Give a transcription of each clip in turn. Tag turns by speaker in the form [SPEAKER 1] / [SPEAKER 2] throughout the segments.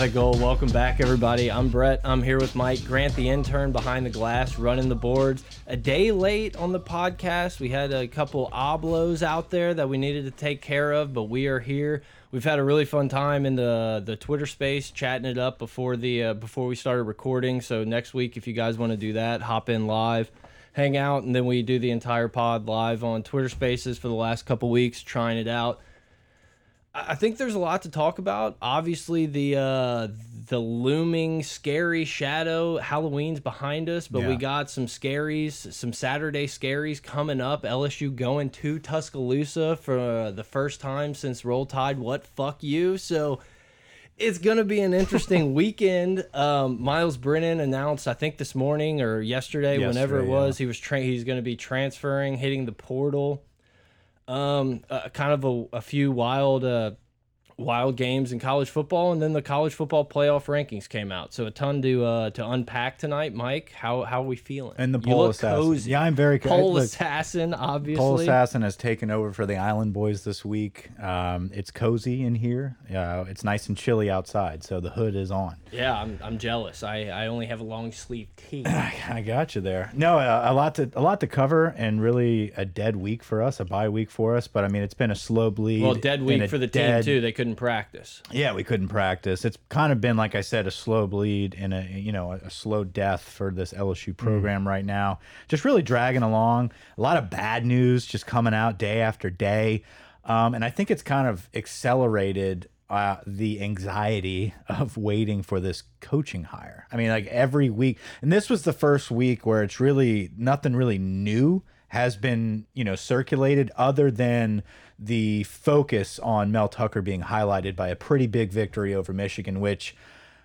[SPEAKER 1] a goal. Welcome back, everybody. I'm Brett. I'm here with Mike Grant, the intern behind the glass, running the boards. A day late on the podcast. We had a couple oblos out there that we needed to take care of, but we are here. We've had a really fun time in the the Twitter space, chatting it up before the uh, before we started recording. So next week, if you guys want to do that, hop in live hang out and then we do the entire pod live on Twitter Spaces for the last couple weeks trying it out. I I think there's a lot to talk about. Obviously the uh the looming scary shadow Halloween's behind us, but we
[SPEAKER 2] Yeah.
[SPEAKER 1] got some scaries, some Saturday scaries coming up. LSU going to Tuscaloosa for uh, the first time since Roll Tide. What fuck you. So it's going to be an interesting weekend. Um, Miles Brennan announced, I think this morning or yesterday, whenever it
[SPEAKER 2] Yesterday,
[SPEAKER 1] was, he was tra he's going to be transferring, hitting the portal. Um, uh, kind of a, a few wild, uh, wild games in college football, and then the college football playoff rankings came out. So a ton to uh, to unpack tonight, Mike. How how are we feeling?
[SPEAKER 2] And the
[SPEAKER 1] You
[SPEAKER 2] pole
[SPEAKER 1] look
[SPEAKER 2] assassin.
[SPEAKER 1] cozy.
[SPEAKER 2] Yeah, I'm very co-
[SPEAKER 1] pole
[SPEAKER 2] look,
[SPEAKER 1] assassin, obviously.
[SPEAKER 2] Pole assassin has taken over for the Island Boys this week. Um, it's cozy in here. Uh, it's nice and chilly outside, so the hood is on.
[SPEAKER 1] Yeah, I'm, I'm jealous. I, I only have a long sleeve tee.
[SPEAKER 2] I got you there. No, uh, a lot to a lot to cover, and really a dead week for us, a bye week for us. But I mean, it's been a slow bleed.
[SPEAKER 1] Well, dead
[SPEAKER 2] and
[SPEAKER 1] week
[SPEAKER 2] a
[SPEAKER 1] for the
[SPEAKER 2] dead-
[SPEAKER 1] team too. They couldn't practice.
[SPEAKER 2] Yeah, we couldn't practice. It's kind of been like I said, a slow bleed and a you know a, a slow death for this LSU program right now. Just really dragging along. A lot of bad news just coming out day after day, um, and I think it's kind of accelerated uh, the anxiety of waiting for this coaching hire. I mean, like every week, and this was the first week where it's really nothing really new has been you know circulated other than the focus on Mel Tucker being highlighted by a pretty big victory over Michigan, which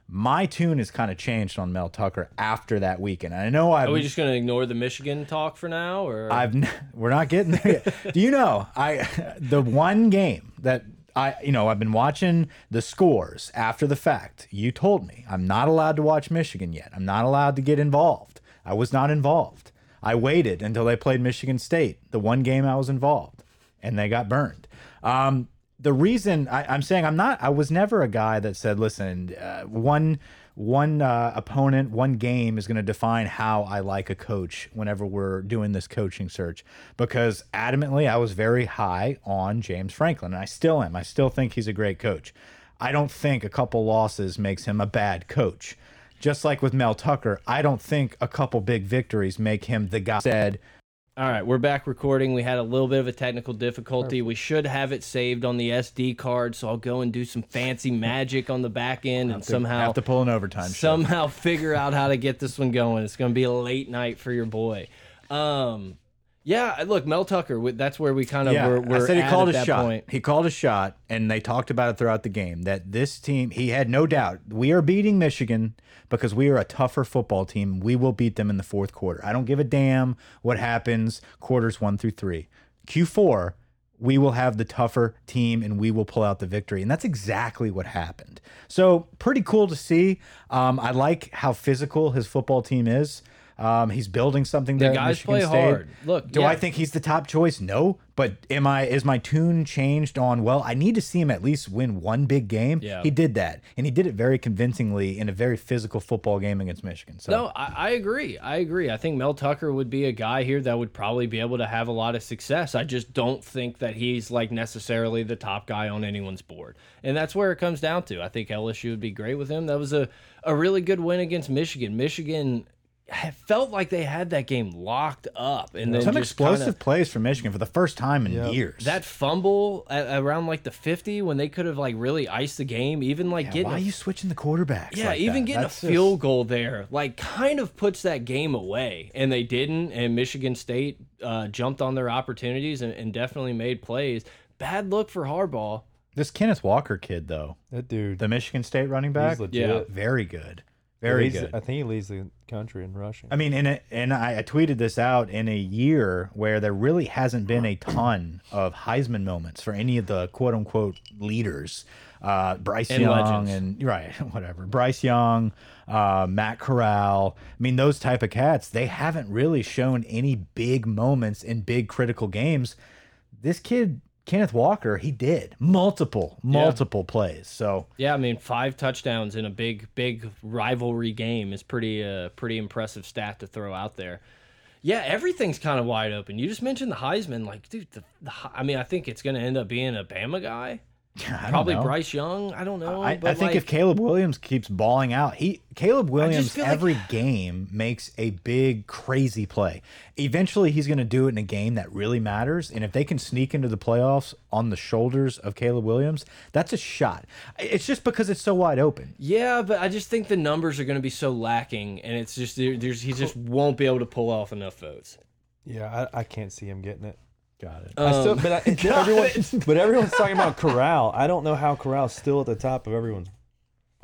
[SPEAKER 2] my tune has kind of changed on Mel Tucker after that weekend. I know I've
[SPEAKER 1] Are Oh, we just gonna ignore the Michigan talk for now, or
[SPEAKER 2] I've n- we're not getting there. Yet. Do you know I the one game that I you know I've been watching the scores after the fact. You told me I'm not allowed to watch Michigan yet. I'm not allowed to get involved. I was not involved. I waited until they played Michigan State, the one game I was involved, and they got burned. Um, the reason I, I'm saying I'm not, I was never a guy that said, listen, uh, one one uh, opponent, one game is going to define how I like a coach. Whenever we're doing this coaching search, because adamantly, I was very high on James Franklin, and I still am. I still think he's a great coach. I don't think a couple losses makes him a bad coach. Just like with Mel Tucker, I don't think a couple big victories make him the guy said
[SPEAKER 1] all right, we're back recording. We had a little bit of a technical difficulty. We should have it saved on the SD card, so I'll go and do some fancy magic on the back end and somehow
[SPEAKER 2] have to pull an overtime. shift.
[SPEAKER 1] somehow figure out how to get this one going. It's gonna be a late night for your boy. Um, yeah, look, Mel Tucker. we- That's where we kind of
[SPEAKER 2] Yeah,
[SPEAKER 1] were. were
[SPEAKER 2] I said he
[SPEAKER 1] at
[SPEAKER 2] called
[SPEAKER 1] at
[SPEAKER 2] a
[SPEAKER 1] that
[SPEAKER 2] shot.
[SPEAKER 1] point.
[SPEAKER 2] He called a shot, and they talked about it throughout the game. That this team, he had no doubt, we are beating Michigan because we are a tougher football team. We will beat them in the fourth quarter. I don't give a damn what happens quarters one through three. Q four, we will have the tougher team and we will pull out the victory. And that's exactly what happened. So pretty cool to see. Um, I like how physical his football team is. Um, he's building something there. at
[SPEAKER 1] guys
[SPEAKER 2] Michigan
[SPEAKER 1] play
[SPEAKER 2] State.
[SPEAKER 1] hard. Look,
[SPEAKER 2] do I
[SPEAKER 1] yeah.
[SPEAKER 2] think? think he's the top choice? No, but am I? Is my tune changed on? Well, I need to see him at least win one big game.
[SPEAKER 1] Yeah.
[SPEAKER 2] he did that, and he did it very convincingly in a very physical football game against Michigan. So
[SPEAKER 1] No, I, I agree. I agree. I think Mel Tucker would be a guy here that would probably be able to have a lot of success. I just don't think that he's like necessarily the top guy on anyone's board. And that's where it comes down to. I think LSU would be great with him. That was a, a really good win against Michigan. Michigan had- felt like they had that game locked up and then
[SPEAKER 2] some
[SPEAKER 1] just kinda-
[SPEAKER 2] explosive plays for Michigan for the first time in years.
[SPEAKER 1] that fumble at, around like the 50 when they could have like really iced the game, even like getting
[SPEAKER 2] why
[SPEAKER 1] a
[SPEAKER 2] are you switching the quarterbacks?
[SPEAKER 1] Yeah,
[SPEAKER 2] like
[SPEAKER 1] even
[SPEAKER 2] that?
[SPEAKER 1] getting
[SPEAKER 2] That's
[SPEAKER 1] a
[SPEAKER 2] just-
[SPEAKER 1] field goal there, like, kind of puts that game away. And they didn't. And Michigan State uh, jumped on their opportunities and, and definitely made plays. Bad look for Harbaugh.
[SPEAKER 2] this Kenneth Walker kid though,
[SPEAKER 3] That dude.
[SPEAKER 2] the Michigan State running back.
[SPEAKER 3] legit.
[SPEAKER 1] Yeah.
[SPEAKER 2] very good,
[SPEAKER 3] he
[SPEAKER 2] very
[SPEAKER 3] leads-
[SPEAKER 2] good.
[SPEAKER 3] I think he leads the country in rushing.
[SPEAKER 2] I mean, in a, and I, I tweeted this out in a year where there really hasn't been a ton of Heisman moments for any of the quote unquote leaders. Uh, Bryce
[SPEAKER 1] And
[SPEAKER 2] Young
[SPEAKER 1] legends.
[SPEAKER 2] and right, whatever. Bryce Young, uh, Matt Corral. I mean, those type of cats. They haven't really shown any big moments in big critical games. This kid Kenneth Walker, he did multiple, multiple plays. So
[SPEAKER 1] Yeah, I mean, five touchdowns in a big, big rivalry game is pretty, uh, pretty impressive stat to throw out there. Yeah, everything's kind of wide open. You just mentioned the Heisman, like, dude. The, the, Hei- I mean, I think it's going to end up being a Bama guy,
[SPEAKER 2] I
[SPEAKER 1] probably
[SPEAKER 2] don't know.
[SPEAKER 1] Bryce Young. I don't know.
[SPEAKER 2] I,
[SPEAKER 1] but
[SPEAKER 2] I think if
[SPEAKER 1] like,
[SPEAKER 2] Caleb Williams keeps balling out, he Caleb Williams
[SPEAKER 1] feel like-
[SPEAKER 2] every game makes a big crazy play. Eventually, he's going to do it in a game that really matters. And if they can sneak into the playoffs on the shoulders of Caleb Williams, that's a shot. It's just because it's so wide open.
[SPEAKER 1] yeah, but I just think the numbers are going to be so lacking, and it's just there, there's he just won't be able to pull off enough votes.
[SPEAKER 3] Yeah, I, I can't see him getting it.
[SPEAKER 2] Got it.
[SPEAKER 3] I
[SPEAKER 4] Um,
[SPEAKER 3] still, but, I, everyone, but everyone's talking about Corral. I don't know how Corral's still at the top of everyone's.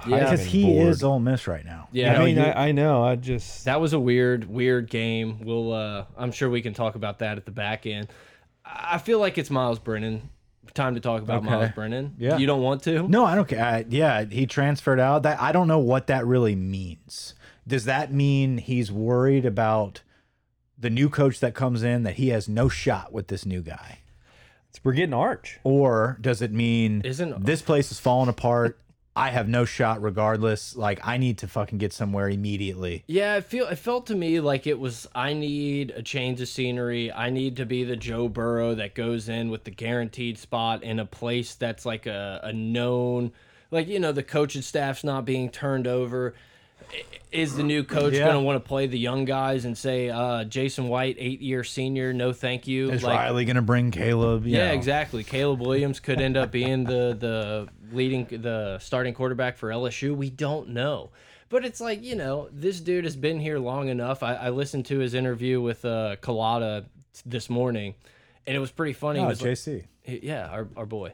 [SPEAKER 1] Yeah,
[SPEAKER 2] because
[SPEAKER 3] I'm
[SPEAKER 2] he
[SPEAKER 3] bored.
[SPEAKER 2] is Ole Miss right now.
[SPEAKER 1] Yeah.
[SPEAKER 3] I
[SPEAKER 1] No,
[SPEAKER 3] mean, I, I know. I just
[SPEAKER 1] That was a weird, weird game. We'll, uh, I'm sure we can talk about that at the back end. I I feel like it's Miles Brennan. Time to talk about
[SPEAKER 2] Okay.
[SPEAKER 1] Miles Brennan.
[SPEAKER 2] Yeah.
[SPEAKER 1] you don't want to?
[SPEAKER 2] No, I don't care. I, yeah, he transferred out. That I don't know what that really means. Does that mean he's worried about the new coach that comes in that he has no shot with this new guy?
[SPEAKER 3] we're getting Arch.
[SPEAKER 2] Or does it mean
[SPEAKER 1] Isn't-
[SPEAKER 2] this place is falling apart? I have no shot regardless. Like I need to fucking get somewhere immediately.
[SPEAKER 1] Yeah, it feel it felt to me like it was I need a change of scenery. I need to be the Joe Burrow that goes in with the guaranteed spot in a place that's like a, a known like, you know, the coaching staff's not being turned over. I- Is the new coach
[SPEAKER 2] Yeah.
[SPEAKER 1] gonna want to play the young guys and say, uh, Jason White, eight year senior, no thank you.
[SPEAKER 2] Is Riley gonna bring Caleb? You
[SPEAKER 1] Yeah,
[SPEAKER 2] know?
[SPEAKER 1] exactly. Caleb Williams could end up being the the leading the starting quarterback for LSU. We don't know. But it's like, you know, this dude has been here long enough. I, I listened to his interview with uh Colada this morning and it was pretty funny. He
[SPEAKER 2] Oh,
[SPEAKER 1] was like-
[SPEAKER 2] JC.
[SPEAKER 1] he- yeah, our, our boy.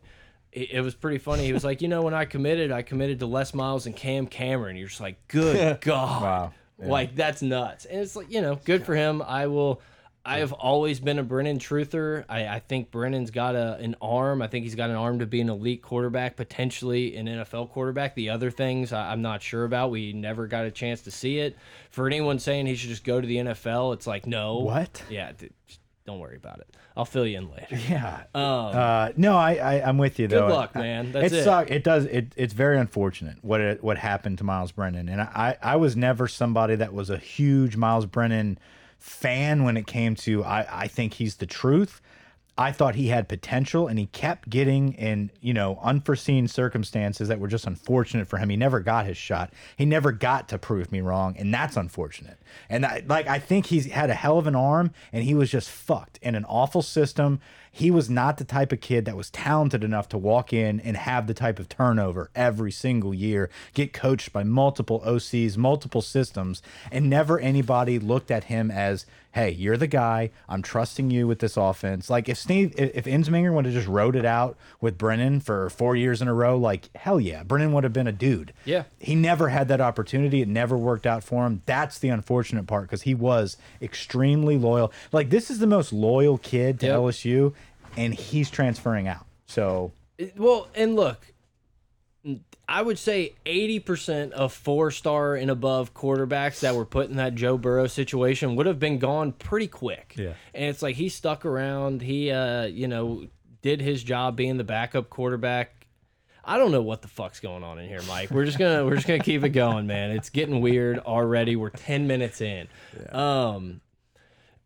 [SPEAKER 1] It, it was pretty funny. He was like, you know, when I committed, I committed to Les Miles and Cam Cameron. You're just like, good God.
[SPEAKER 2] Wow, yeah.
[SPEAKER 1] Like, that's nuts. And it's like, you know, good for him. I will. I have always been a Brennan truther. I, I think Brennan's got a, an arm. I think he's got an arm to be an elite quarterback, potentially an NFL quarterback. The other things I, I'm not sure about. We never got a chance to see it. For anyone saying he should just go to the NFL, it's like, no.
[SPEAKER 2] What?
[SPEAKER 1] Yeah, d- don't worry about it. I'll fill you in later.
[SPEAKER 2] Yeah. uh, no, I, I I'm with you though.
[SPEAKER 1] Um, luck,
[SPEAKER 2] I-
[SPEAKER 1] man. That's
[SPEAKER 2] it.
[SPEAKER 1] it.
[SPEAKER 2] suck- It does. It it's very unfortunate what it, what happened to Miles Brennan, and I I was never somebody that was a huge Miles Brennan fan when it came to I I think he's the truth. I thought he had potential, and he kept getting in you know unforeseen circumstances that were just unfortunate for him. He never got his shot. He never got to prove me wrong, and that's unfortunate. And I, like I think he's had a hell of an arm, and he was just fucked in an awful system. He was not the type of kid that was talented enough to walk in and have the type of turnover every single year, get coached by multiple OCs, multiple systems, and never anybody looked at him as, hey, you're the guy. I'm trusting you with this offense. Like if Steve, if if Insminger would have just rode it out with Brennan for four years in a row, like hell yeah, Brennan would have been a dude.
[SPEAKER 1] Yeah.
[SPEAKER 2] He never had that opportunity. It never worked out for him. That's the unfortunate part because he was extremely loyal. Like this is the most loyal kid to
[SPEAKER 1] Yep.
[SPEAKER 2] LSU, and he's transferring out. So
[SPEAKER 1] It- Well, and look, I would say 80% of four star and above quarterbacks that were put in that Joe Burrow situation would have been gone pretty quick.
[SPEAKER 2] Yeah.
[SPEAKER 1] And it's like he stuck around. He, uh, you know, did his job being the backup quarterback. I don't know what the fuck's going on in here, Mike. We're just gonna we're just gonna keep it going, man. It's getting weird already. We're ten minutes in. Um,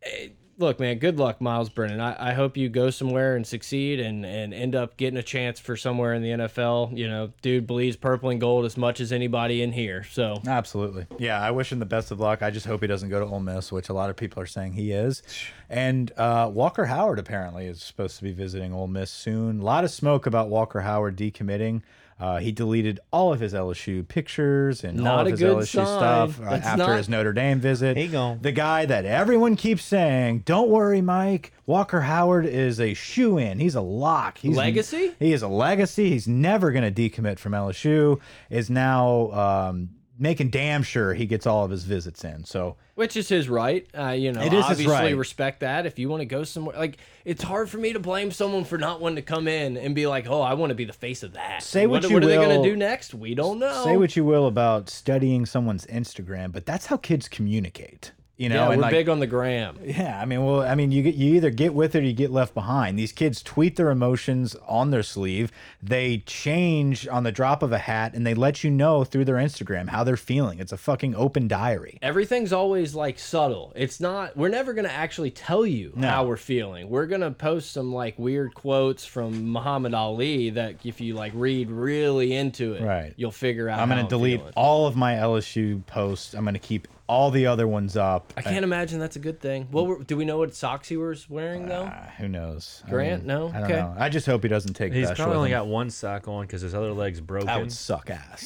[SPEAKER 1] eh, look, man. Good luck, Miles Brennan. I, I hope you go somewhere and succeed and and end up getting a chance for somewhere in the NFL. You know, dude believes purple and gold as much as anybody in here. So
[SPEAKER 2] Absolutely. Yeah, I wish him the best of luck. I just hope he doesn't go to Ole Miss, which a lot of people are saying he is. And uh, Walker Howard apparently is supposed to be visiting Ole Miss soon. A lot of smoke about Walker Howard decommitting. Uh, he deleted all of his LSU pictures and all
[SPEAKER 1] Not
[SPEAKER 2] of
[SPEAKER 1] a
[SPEAKER 2] his
[SPEAKER 1] good
[SPEAKER 2] LSU
[SPEAKER 1] sign.
[SPEAKER 2] stuff uh,
[SPEAKER 1] That's
[SPEAKER 2] after
[SPEAKER 1] not-
[SPEAKER 2] his Notre Dame visit.
[SPEAKER 3] He gone.
[SPEAKER 2] The guy that everyone keeps saying, "Don't worry, Mike. Walker Howard is a shoe in. He's a lock. He's
[SPEAKER 1] Legacy?
[SPEAKER 2] he is a legacy. He's never going to decommit from LSU. Is now um, making damn sure he gets all of his visits in. So
[SPEAKER 1] Which is his right. Uh, you know,
[SPEAKER 2] It is his
[SPEAKER 1] obviously
[SPEAKER 2] right.
[SPEAKER 1] respect that. If you want to go somewhere, like, it's hard for me to blame someone for not wanting to come in and be like, oh, I want to be the face of that.
[SPEAKER 2] Say what you
[SPEAKER 1] what are they going
[SPEAKER 2] will.
[SPEAKER 1] to do next? We don't know.
[SPEAKER 2] say what you will about studying someone's Instagram, but that's how kids communicate. You know,
[SPEAKER 1] Yeah,
[SPEAKER 2] and
[SPEAKER 1] we're
[SPEAKER 2] like,
[SPEAKER 1] big on the gram.
[SPEAKER 2] yeah, I mean, well, I mean, you get you either get with it or you get left behind. These kids tweet their emotions on their sleeve. They change on the drop of a hat, and they let you know through their Instagram how they're feeling. It's a fucking open diary.
[SPEAKER 1] everything's always like subtle. It's not we're never going to actually tell you how we're feeling. We're going to post some like weird quotes from Muhammad Ali that if you like read really into it,
[SPEAKER 2] Right.
[SPEAKER 1] you'll figure out
[SPEAKER 2] I'm
[SPEAKER 1] how
[SPEAKER 2] gonna delete
[SPEAKER 1] feeling.
[SPEAKER 2] all of my LSU posts. I'm gonna keep all the other ones up.
[SPEAKER 1] I can't imagine that's a good thing. What were, do we know what socks he was wearing though?
[SPEAKER 2] Ah, who knows? I
[SPEAKER 1] Grant? No?
[SPEAKER 2] I don't
[SPEAKER 1] Okay.
[SPEAKER 2] know. I just hope he doesn't take.
[SPEAKER 4] He's
[SPEAKER 2] Besh
[SPEAKER 4] probably
[SPEAKER 2] with
[SPEAKER 4] only
[SPEAKER 2] him.
[SPEAKER 4] got one sock on because his other leg's broken.
[SPEAKER 2] That would suck ass.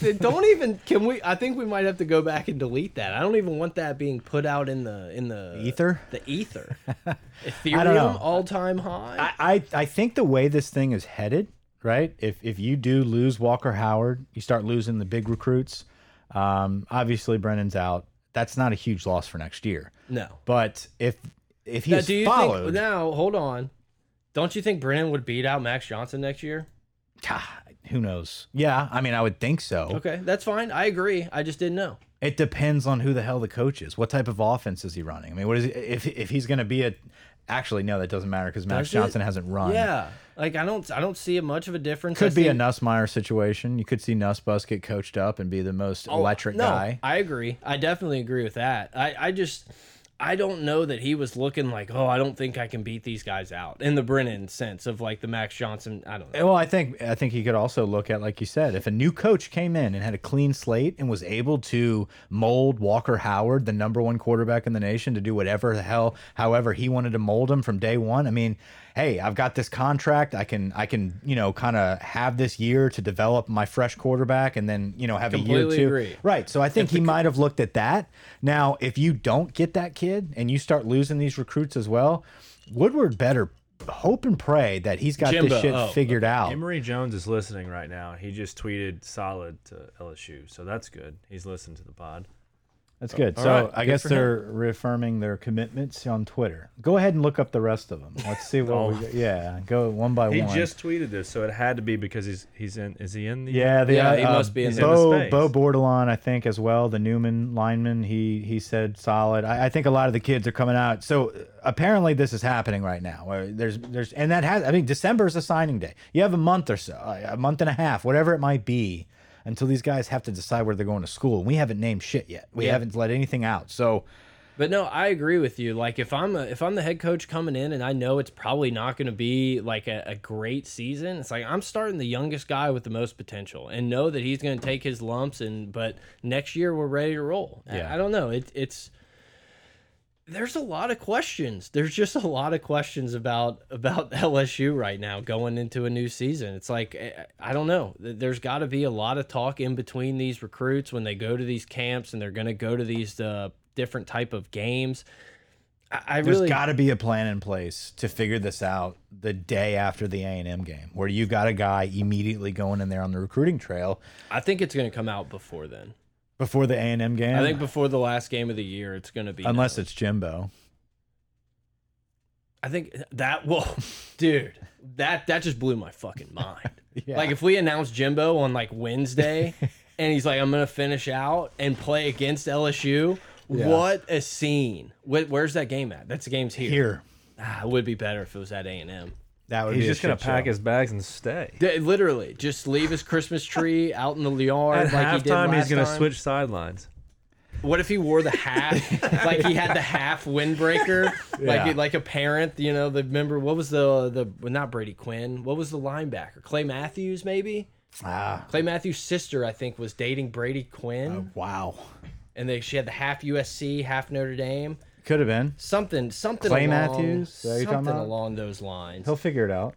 [SPEAKER 4] so.
[SPEAKER 1] don't even can we I think we might have to go back and delete that. I don't even want that being put out in the in the
[SPEAKER 2] Ether?
[SPEAKER 1] The ether.
[SPEAKER 2] know.
[SPEAKER 1] Ethereum all time high.
[SPEAKER 2] I, I I think the way this thing is headed, right? If if you do lose Walker Howard, you start losing the big recruits. Um, obviously, Brennan's out. That's not a huge loss for next year.
[SPEAKER 1] no.
[SPEAKER 2] But if if
[SPEAKER 1] Now,
[SPEAKER 2] he's
[SPEAKER 1] Uh, do you
[SPEAKER 2] followed,
[SPEAKER 1] think now? Hold on. Don't you think Brennan would beat out Max Johnson next year?
[SPEAKER 2] ah, who knows? Yeah, I mean, I would think so.
[SPEAKER 1] Okay, that's fine. I agree. I just didn't know.
[SPEAKER 2] It depends on who the hell the coach is. What type of offense is he running? I mean, what is if if he's going to be a? Actually, no, that doesn't matter because Max
[SPEAKER 1] Does it?
[SPEAKER 2] Johnson hasn't run.
[SPEAKER 1] Yeah, like I don't. I don't see much of a difference. I
[SPEAKER 2] Could be
[SPEAKER 1] see-
[SPEAKER 2] a Nussmeyer situation. You could see Nussbus get coached up and be the most
[SPEAKER 1] Oh,
[SPEAKER 2] electric
[SPEAKER 1] no,
[SPEAKER 2] guy.
[SPEAKER 1] I agree. I definitely agree with that. I, I just. I don't know that he was looking like, oh, I don't think I can beat these guys out in the Brennan sense of like the Max Johnson. I don't know.
[SPEAKER 2] Well, I think I think he could also look at, like you said, if a new coach came in and had a clean slate and was able to mold Walker Howard, the number one quarterback in the nation, to do whatever the hell, however he wanted to mold him from day one. I mean, hey, I've got this contract. I can I can you know kind of have this year to develop my fresh quarterback, and then you know have
[SPEAKER 1] Completely
[SPEAKER 2] a year or two.
[SPEAKER 1] agree.
[SPEAKER 2] Right. So I think he might have looked at that. Now, if you don't get that kid and you start losing these recruits as well, Woodward better. Hope and pray that he's got
[SPEAKER 1] Jimbo.
[SPEAKER 2] this shit
[SPEAKER 1] Oh,
[SPEAKER 2] figured out.
[SPEAKER 4] Emory Jones is listening right now. He just tweeted solid to LSU, so that's good. He's listening to the pod.
[SPEAKER 2] That's good.
[SPEAKER 1] All
[SPEAKER 2] so
[SPEAKER 1] right,
[SPEAKER 2] I
[SPEAKER 1] good
[SPEAKER 2] guess
[SPEAKER 1] for him.
[SPEAKER 2] they're reaffirming their commitments on Twitter. Go ahead and look up the rest of them. Let's see what we
[SPEAKER 4] Oh.
[SPEAKER 2] got. Yeah, go one by
[SPEAKER 4] He
[SPEAKER 2] one.
[SPEAKER 4] just tweeted this, so it had to be because he's he's in. Is he in the?
[SPEAKER 2] yeah, the,
[SPEAKER 1] Yeah,
[SPEAKER 2] uh,
[SPEAKER 1] he must be in
[SPEAKER 2] uh,
[SPEAKER 1] the-
[SPEAKER 4] He's in the
[SPEAKER 2] Bo
[SPEAKER 4] space.
[SPEAKER 2] Bo Bordelon, I think as well. The Newman lineman, he he said solid. I, I think a lot of the kids are coming out. So uh, apparently this is happening right now. Uh, There's there's and that has. I mean, December is a signing day. You have a month or so, uh, a month and a half, whatever it might be, until these guys have to decide where they're going to school. And we haven't named shit yet. We haven't let anything out. So.
[SPEAKER 1] But no, I agree with you. Like if I'm a, if I'm the head coach coming in and I know it's probably not going to be like a, a great season, it's like I'm starting the youngest guy with the most potential and know that he's going to take his lumps and but next year we're ready to roll. I-
[SPEAKER 2] Yeah.
[SPEAKER 1] I, don't know. It, it's there's a lot of questions. There's just a lot of questions about about LSU right now going into a new season. It's like I- I don't know. There's got to be a lot of talk in between these recruits when they go to these camps and they're going to go to these uh, different type of games. I, I
[SPEAKER 2] There's
[SPEAKER 1] really
[SPEAKER 2] got to be a plan in place to figure this out the day after the A and M game, where you've got a guy immediately going in there on the recruiting trail
[SPEAKER 1] I think it's going to come out before then.
[SPEAKER 2] before the A and M game.
[SPEAKER 1] I think before the last game of the year, it's going to be
[SPEAKER 2] unless
[SPEAKER 1] known.
[SPEAKER 2] it's Jimbo.
[SPEAKER 1] I think that whoa, dude, that that just blew my fucking mind.
[SPEAKER 2] Yeah.
[SPEAKER 1] Like if we announce Jimbo on like Wednesday, and he's like, I'm gonna finish out and play against LSU.
[SPEAKER 2] Yeah.
[SPEAKER 1] What a scene! Wh where's that game at? That's the game's here.
[SPEAKER 2] Here,
[SPEAKER 1] Ah, it would be better if it was at A and M.
[SPEAKER 2] that would
[SPEAKER 4] He's
[SPEAKER 2] be
[SPEAKER 4] just
[SPEAKER 2] a
[SPEAKER 4] gonna
[SPEAKER 2] shit
[SPEAKER 4] pack
[SPEAKER 2] show.
[SPEAKER 4] his bags and stay.
[SPEAKER 1] D- Literally, just leave his Christmas tree out in the yard
[SPEAKER 4] At
[SPEAKER 1] like he did
[SPEAKER 4] halftime,
[SPEAKER 1] last
[SPEAKER 4] he's gonna
[SPEAKER 1] time.
[SPEAKER 4] switch sidelines.
[SPEAKER 1] What if he wore the half? like he had the half windbreaker,
[SPEAKER 2] Yeah.
[SPEAKER 1] like like a parent. You know, the member. What was the the well, not Brady Quinn? What was the linebacker? Clay Matthews, maybe.
[SPEAKER 2] Ah,
[SPEAKER 1] Clay Matthews' sister, I think, was dating Brady Quinn,
[SPEAKER 2] Oh. wow,
[SPEAKER 1] and they she had the half USC, half Notre Dame,
[SPEAKER 2] could have been.
[SPEAKER 1] something something.
[SPEAKER 2] Clay
[SPEAKER 1] along,
[SPEAKER 2] Matthews? Is that what you're talking
[SPEAKER 1] something
[SPEAKER 2] about?
[SPEAKER 1] along those lines.
[SPEAKER 2] He'll figure it out.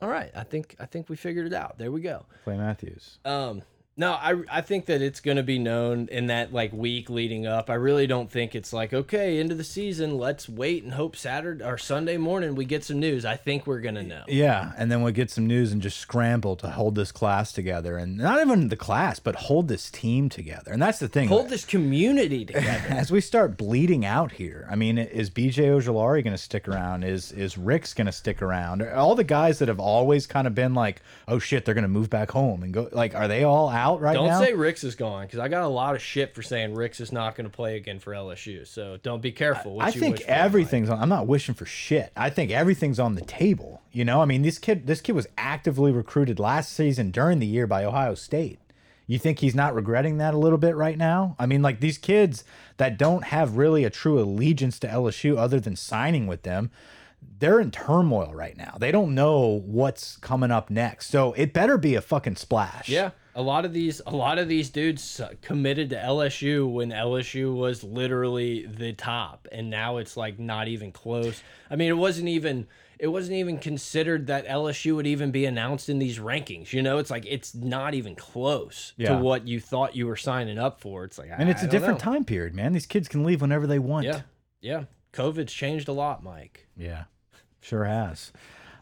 [SPEAKER 1] All right, I think I think we figured it out. There we go.
[SPEAKER 2] Clay Matthews.
[SPEAKER 1] Um, no, I I think that it's going to be known in that like week leading up. I really don't think it's like okay, into the season, let's wait and hope Saturday or Sunday morning we get some news. I think we're gonna know.
[SPEAKER 2] Yeah, and then we'll get some news and just scramble to hold this class together, and not even the class, but hold this team together. And that's the thing.
[SPEAKER 1] Hold this community together.
[SPEAKER 2] as we start bleeding out here, I mean, is BJ Ojolari going to stick around? Is is Rick's going to stick around? Are all the guys that have always kind of been like, oh shit, they're going to move back home and go like, are they all out right
[SPEAKER 1] Don't
[SPEAKER 2] now.
[SPEAKER 1] say Ricks is gone because I got a lot of shit for saying Ricks is not going to play again for LSU. So don't be careful. what
[SPEAKER 2] I
[SPEAKER 1] you
[SPEAKER 2] think
[SPEAKER 1] wish for, Mike.
[SPEAKER 2] everything's on. I'm not wishing for shit. I think everything's on the table. You know, I mean, this kid, this kid was actively recruited last season during the year by Ohio State. You think he's not regretting that a little bit right now? I mean, like these kids that don't have really a true allegiance to LSU other than signing with them, they're in turmoil right now. They don't know what's coming up next. So it better be a fucking splash.
[SPEAKER 1] Yeah, a lot of these, a lot of these dudes uh, committed to LSU when LSU was literally the top, and now it's like not even close. I mean, it wasn't even, it wasn't even considered that LSU would even be announced in these rankings. You know, it's like it's not even close
[SPEAKER 2] Yeah.
[SPEAKER 1] to what you thought you were signing up for. It's like,
[SPEAKER 2] And it's
[SPEAKER 1] a
[SPEAKER 2] a different time period, man. These kids can leave whenever they want.
[SPEAKER 1] Yeah, yeah. COVID's changed a lot, Mike.
[SPEAKER 2] Yeah, sure has.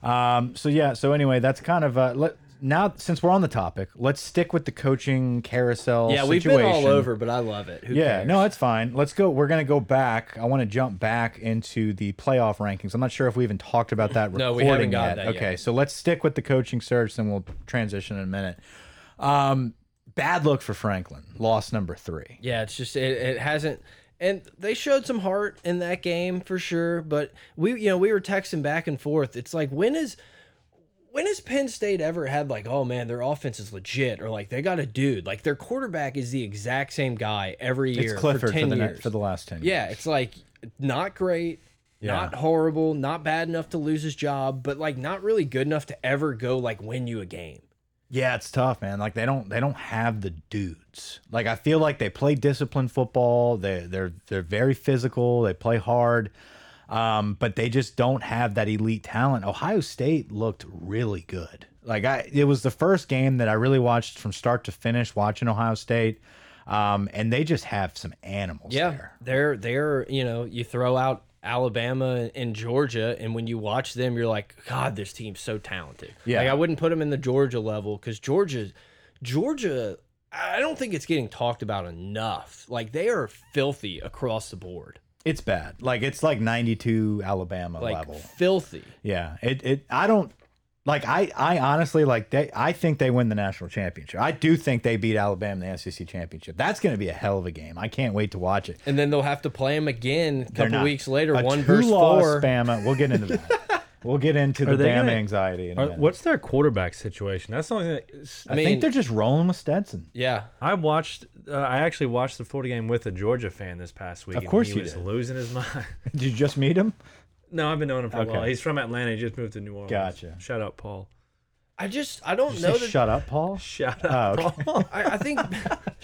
[SPEAKER 2] Um, so yeah, so anyway, that's kind of uh, let, now since we're on the topic, let's stick with the coaching carousel.
[SPEAKER 1] Yeah, we've
[SPEAKER 2] situation.
[SPEAKER 1] been all over, but I love it. Who
[SPEAKER 2] Yeah,
[SPEAKER 1] cares?
[SPEAKER 2] no, that's fine. Let's go. We're gonna go back. I want to jump back into the playoff rankings. I'm not sure if we even talked about that.
[SPEAKER 1] No, we
[SPEAKER 2] recording
[SPEAKER 1] haven't got that yet.
[SPEAKER 2] Okay, so let's stick with the coaching search, then we'll transition in a minute. Um, bad look for Franklin. Loss number three.
[SPEAKER 1] Yeah, it's just it, it hasn't and they showed some heart in that game for sure, but we you know, we were texting back and forth. It's like when is when has Penn State ever had like, oh man, their offense is legit, or like they got a dude, like their quarterback is the exact same guy every year
[SPEAKER 2] It's Clifford
[SPEAKER 1] for
[SPEAKER 2] for,
[SPEAKER 1] ten
[SPEAKER 2] the ne-
[SPEAKER 1] years.
[SPEAKER 2] for the last ten.
[SPEAKER 1] yeah, it's like not great, not horrible, not bad enough to lose his job, but like not really good enough to ever go like win you a game.
[SPEAKER 2] Yeah, it's tough, man. Like they don't they don't have the dudes. Like I feel like they play disciplined football. They they're they're very physical. They play hard. Um, but they just don't have that elite talent. Ohio State looked really good. Like I it was the first game that I really watched from start to finish watching Ohio State. Um, and they just have some animals
[SPEAKER 1] Yeah,
[SPEAKER 2] there.
[SPEAKER 1] they're they're you know you throw out Alabama and Georgia, and when you watch them, you're like, God, this team's so talented.
[SPEAKER 2] Yeah.
[SPEAKER 1] like I wouldn't put them in the Georgia level because Georgia, Georgia, I don't think it's getting talked about enough. Like they are filthy across the board,
[SPEAKER 2] It's bad. Like it's like 92 Alabama
[SPEAKER 1] like
[SPEAKER 2] level.
[SPEAKER 1] filthy.
[SPEAKER 2] Yeah, it it I don't like I I honestly like they I think they win the national championship. I do think they beat Alabama in the SEC championship. That's going to be a hell of a game. I can't wait to watch it.
[SPEAKER 1] And then they'll have to play them again a
[SPEAKER 2] They're
[SPEAKER 1] couple
[SPEAKER 2] not-
[SPEAKER 1] weeks later,
[SPEAKER 2] a
[SPEAKER 1] one versus
[SPEAKER 2] two-loss
[SPEAKER 1] four.
[SPEAKER 2] Bama. We'll get into that. we'll get into the
[SPEAKER 4] they
[SPEAKER 2] Bama
[SPEAKER 4] gonna-
[SPEAKER 2] anxiety. In a
[SPEAKER 4] Are-
[SPEAKER 2] minute.
[SPEAKER 4] what's their quarterback situation? That's the only thing. That,
[SPEAKER 1] I
[SPEAKER 2] I
[SPEAKER 1] mean,
[SPEAKER 2] think they're just rolling with Stetson.
[SPEAKER 1] yeah,
[SPEAKER 4] I watched. Uh, I actually watched the Florida game with a Georgia fan this past week.
[SPEAKER 2] Of
[SPEAKER 4] and
[SPEAKER 2] course
[SPEAKER 4] he
[SPEAKER 2] you
[SPEAKER 4] was
[SPEAKER 2] did.
[SPEAKER 4] losing his mind.
[SPEAKER 2] Did you just meet him?
[SPEAKER 4] no, I've been knowing him for
[SPEAKER 2] Okay.
[SPEAKER 4] a while. He's from Atlanta. He just moved to New Orleans.
[SPEAKER 2] Gotcha.
[SPEAKER 4] Shout out, Paul.
[SPEAKER 1] Uh, I just I don't know
[SPEAKER 2] Say,
[SPEAKER 1] that.
[SPEAKER 2] shut up, Paul.
[SPEAKER 4] Shout out,
[SPEAKER 2] Oh, okay.
[SPEAKER 4] Paul.
[SPEAKER 1] I, I think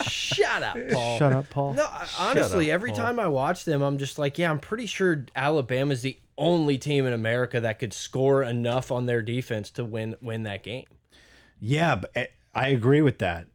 [SPEAKER 1] shut up, Paul.
[SPEAKER 2] Shut up, Paul.
[SPEAKER 1] No, I, honestly,
[SPEAKER 4] up,
[SPEAKER 1] every time I watch them, I'm just like, yeah, I'm pretty sure Alabama's the only team in America that could score enough on their defense to win win that game.
[SPEAKER 2] Yeah, but I- I agree with that.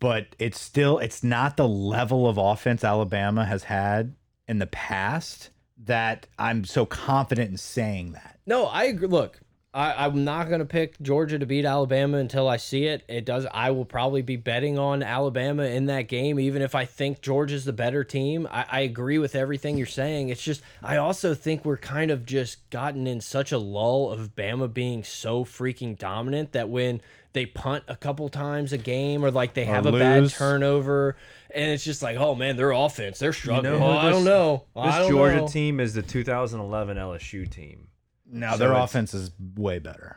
[SPEAKER 2] But it's still it's not the level of offense Alabama has had in the past that I'm so confident in saying that.
[SPEAKER 1] No, I agree. Look, I, I'm not going to pick Georgia to beat Alabama until I see it. It does. I will probably be betting on Alabama in that game, even if I think Georgia's the better team. I, I agree with everything you're saying. It's just I also think we're kind of just gotten in such a lull of Bama being so freaking dominant that when they punt a couple times a game or like they have a bad
[SPEAKER 2] lose.
[SPEAKER 1] turnover, and it's just like, oh man, their offense, they're struggling.
[SPEAKER 4] who
[SPEAKER 1] oh, I
[SPEAKER 4] this-
[SPEAKER 1] don't know.
[SPEAKER 4] This
[SPEAKER 1] I don't
[SPEAKER 4] Georgia
[SPEAKER 1] know.
[SPEAKER 4] team is the 2011 LSU team.
[SPEAKER 2] No,
[SPEAKER 4] So
[SPEAKER 2] their
[SPEAKER 4] it's-
[SPEAKER 2] offense is way better.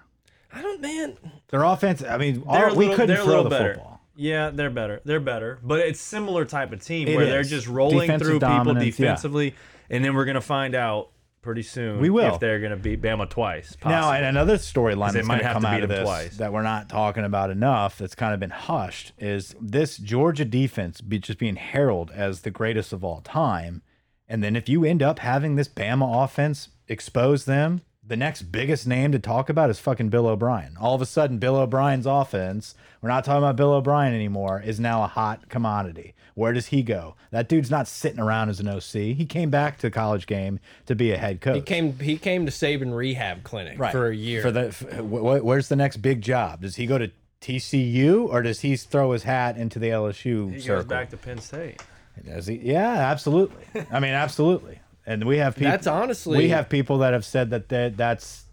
[SPEAKER 1] I don't, man.
[SPEAKER 2] Their offense, I mean,
[SPEAKER 4] They're
[SPEAKER 2] our,
[SPEAKER 4] a
[SPEAKER 2] we
[SPEAKER 4] little-
[SPEAKER 2] couldn't
[SPEAKER 4] they're a
[SPEAKER 2] throw
[SPEAKER 4] little
[SPEAKER 2] the
[SPEAKER 4] better.
[SPEAKER 2] football.
[SPEAKER 4] Yeah, they're better. They're better, but it's similar type of team
[SPEAKER 2] It
[SPEAKER 4] where they're
[SPEAKER 2] is.
[SPEAKER 4] just rolling
[SPEAKER 2] Defensive
[SPEAKER 4] through people
[SPEAKER 2] dominance, yeah.
[SPEAKER 4] defensively, and then we're gonna find out pretty soon.
[SPEAKER 2] We will.
[SPEAKER 4] if they're gonna beat Bama twice. Possibly.
[SPEAKER 2] Now, and another storyline
[SPEAKER 4] They
[SPEAKER 2] that's going
[SPEAKER 4] might
[SPEAKER 2] to
[SPEAKER 4] have
[SPEAKER 2] come
[SPEAKER 4] to
[SPEAKER 2] out
[SPEAKER 4] beat
[SPEAKER 2] of
[SPEAKER 4] them
[SPEAKER 2] this
[SPEAKER 4] twice.
[SPEAKER 2] that we're not talking about enough that's kind of been hushed is this Georgia defense be just being heralded as the greatest of all time. And then if you end up having this Bama offense expose them, the next biggest name to talk about is fucking Bill O'Brien. All of a sudden, Bill O'Brien's offense, we're not talking about Bill O'Brien anymore, is now a hot commodity. Where does he go? That dude's not sitting around as an OC. He came back to the college game to be a head coach.
[SPEAKER 1] He came. He came to Saban Rehab Clinic for a year.
[SPEAKER 2] For the f- wh wh- where's the next big job? Does he go to TCU or does he throw his hat into the LSU
[SPEAKER 4] he goes
[SPEAKER 2] circle?
[SPEAKER 4] back to Penn State.
[SPEAKER 2] Does he? Yeah, absolutely. I mean, absolutely. And we have people.
[SPEAKER 1] That's honestly-
[SPEAKER 2] we have people that have said that that that's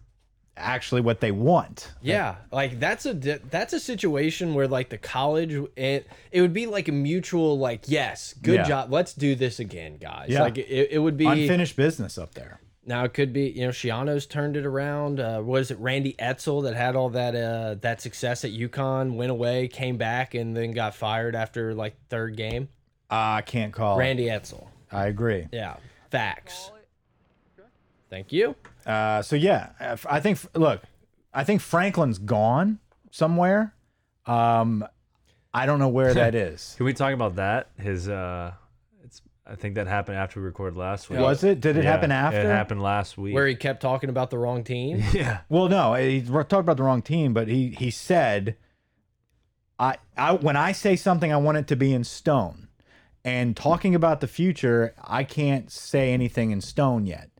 [SPEAKER 2] actually what they want.
[SPEAKER 1] Yeah, like that's a di- that's a situation where like the college it it would be like a mutual like yes, good
[SPEAKER 2] Yeah.
[SPEAKER 1] job. Let's do this again, guys.
[SPEAKER 2] Yeah.
[SPEAKER 1] Like it, it would be
[SPEAKER 2] Unfinished business up there.
[SPEAKER 1] now it could be you know Shiano's turned it around. Uh, what is it? Randy Etzel that had all that uh that success at UConn went away, came back, and then got fired after like third game.
[SPEAKER 2] I can't call. it.
[SPEAKER 1] Randy Etzel,
[SPEAKER 2] I agree.
[SPEAKER 1] yeah, facts. Thank you.
[SPEAKER 2] Uh, so yeah, if- I think look, I think Franklin's gone somewhere. Um, I don't know where that is.
[SPEAKER 4] Can we talk about that? His uh it's I think that happened after we recorded last week.
[SPEAKER 2] Was it? Did it
[SPEAKER 4] Yeah,
[SPEAKER 2] happen after?
[SPEAKER 4] It happened last week.
[SPEAKER 1] Where he kept talking about the wrong team.
[SPEAKER 4] yeah.
[SPEAKER 2] Well, no, he talked about the wrong team, but he he said, "I I when I say something, I want it to be in stone." And talking about the future, I can't say anything in stone yet.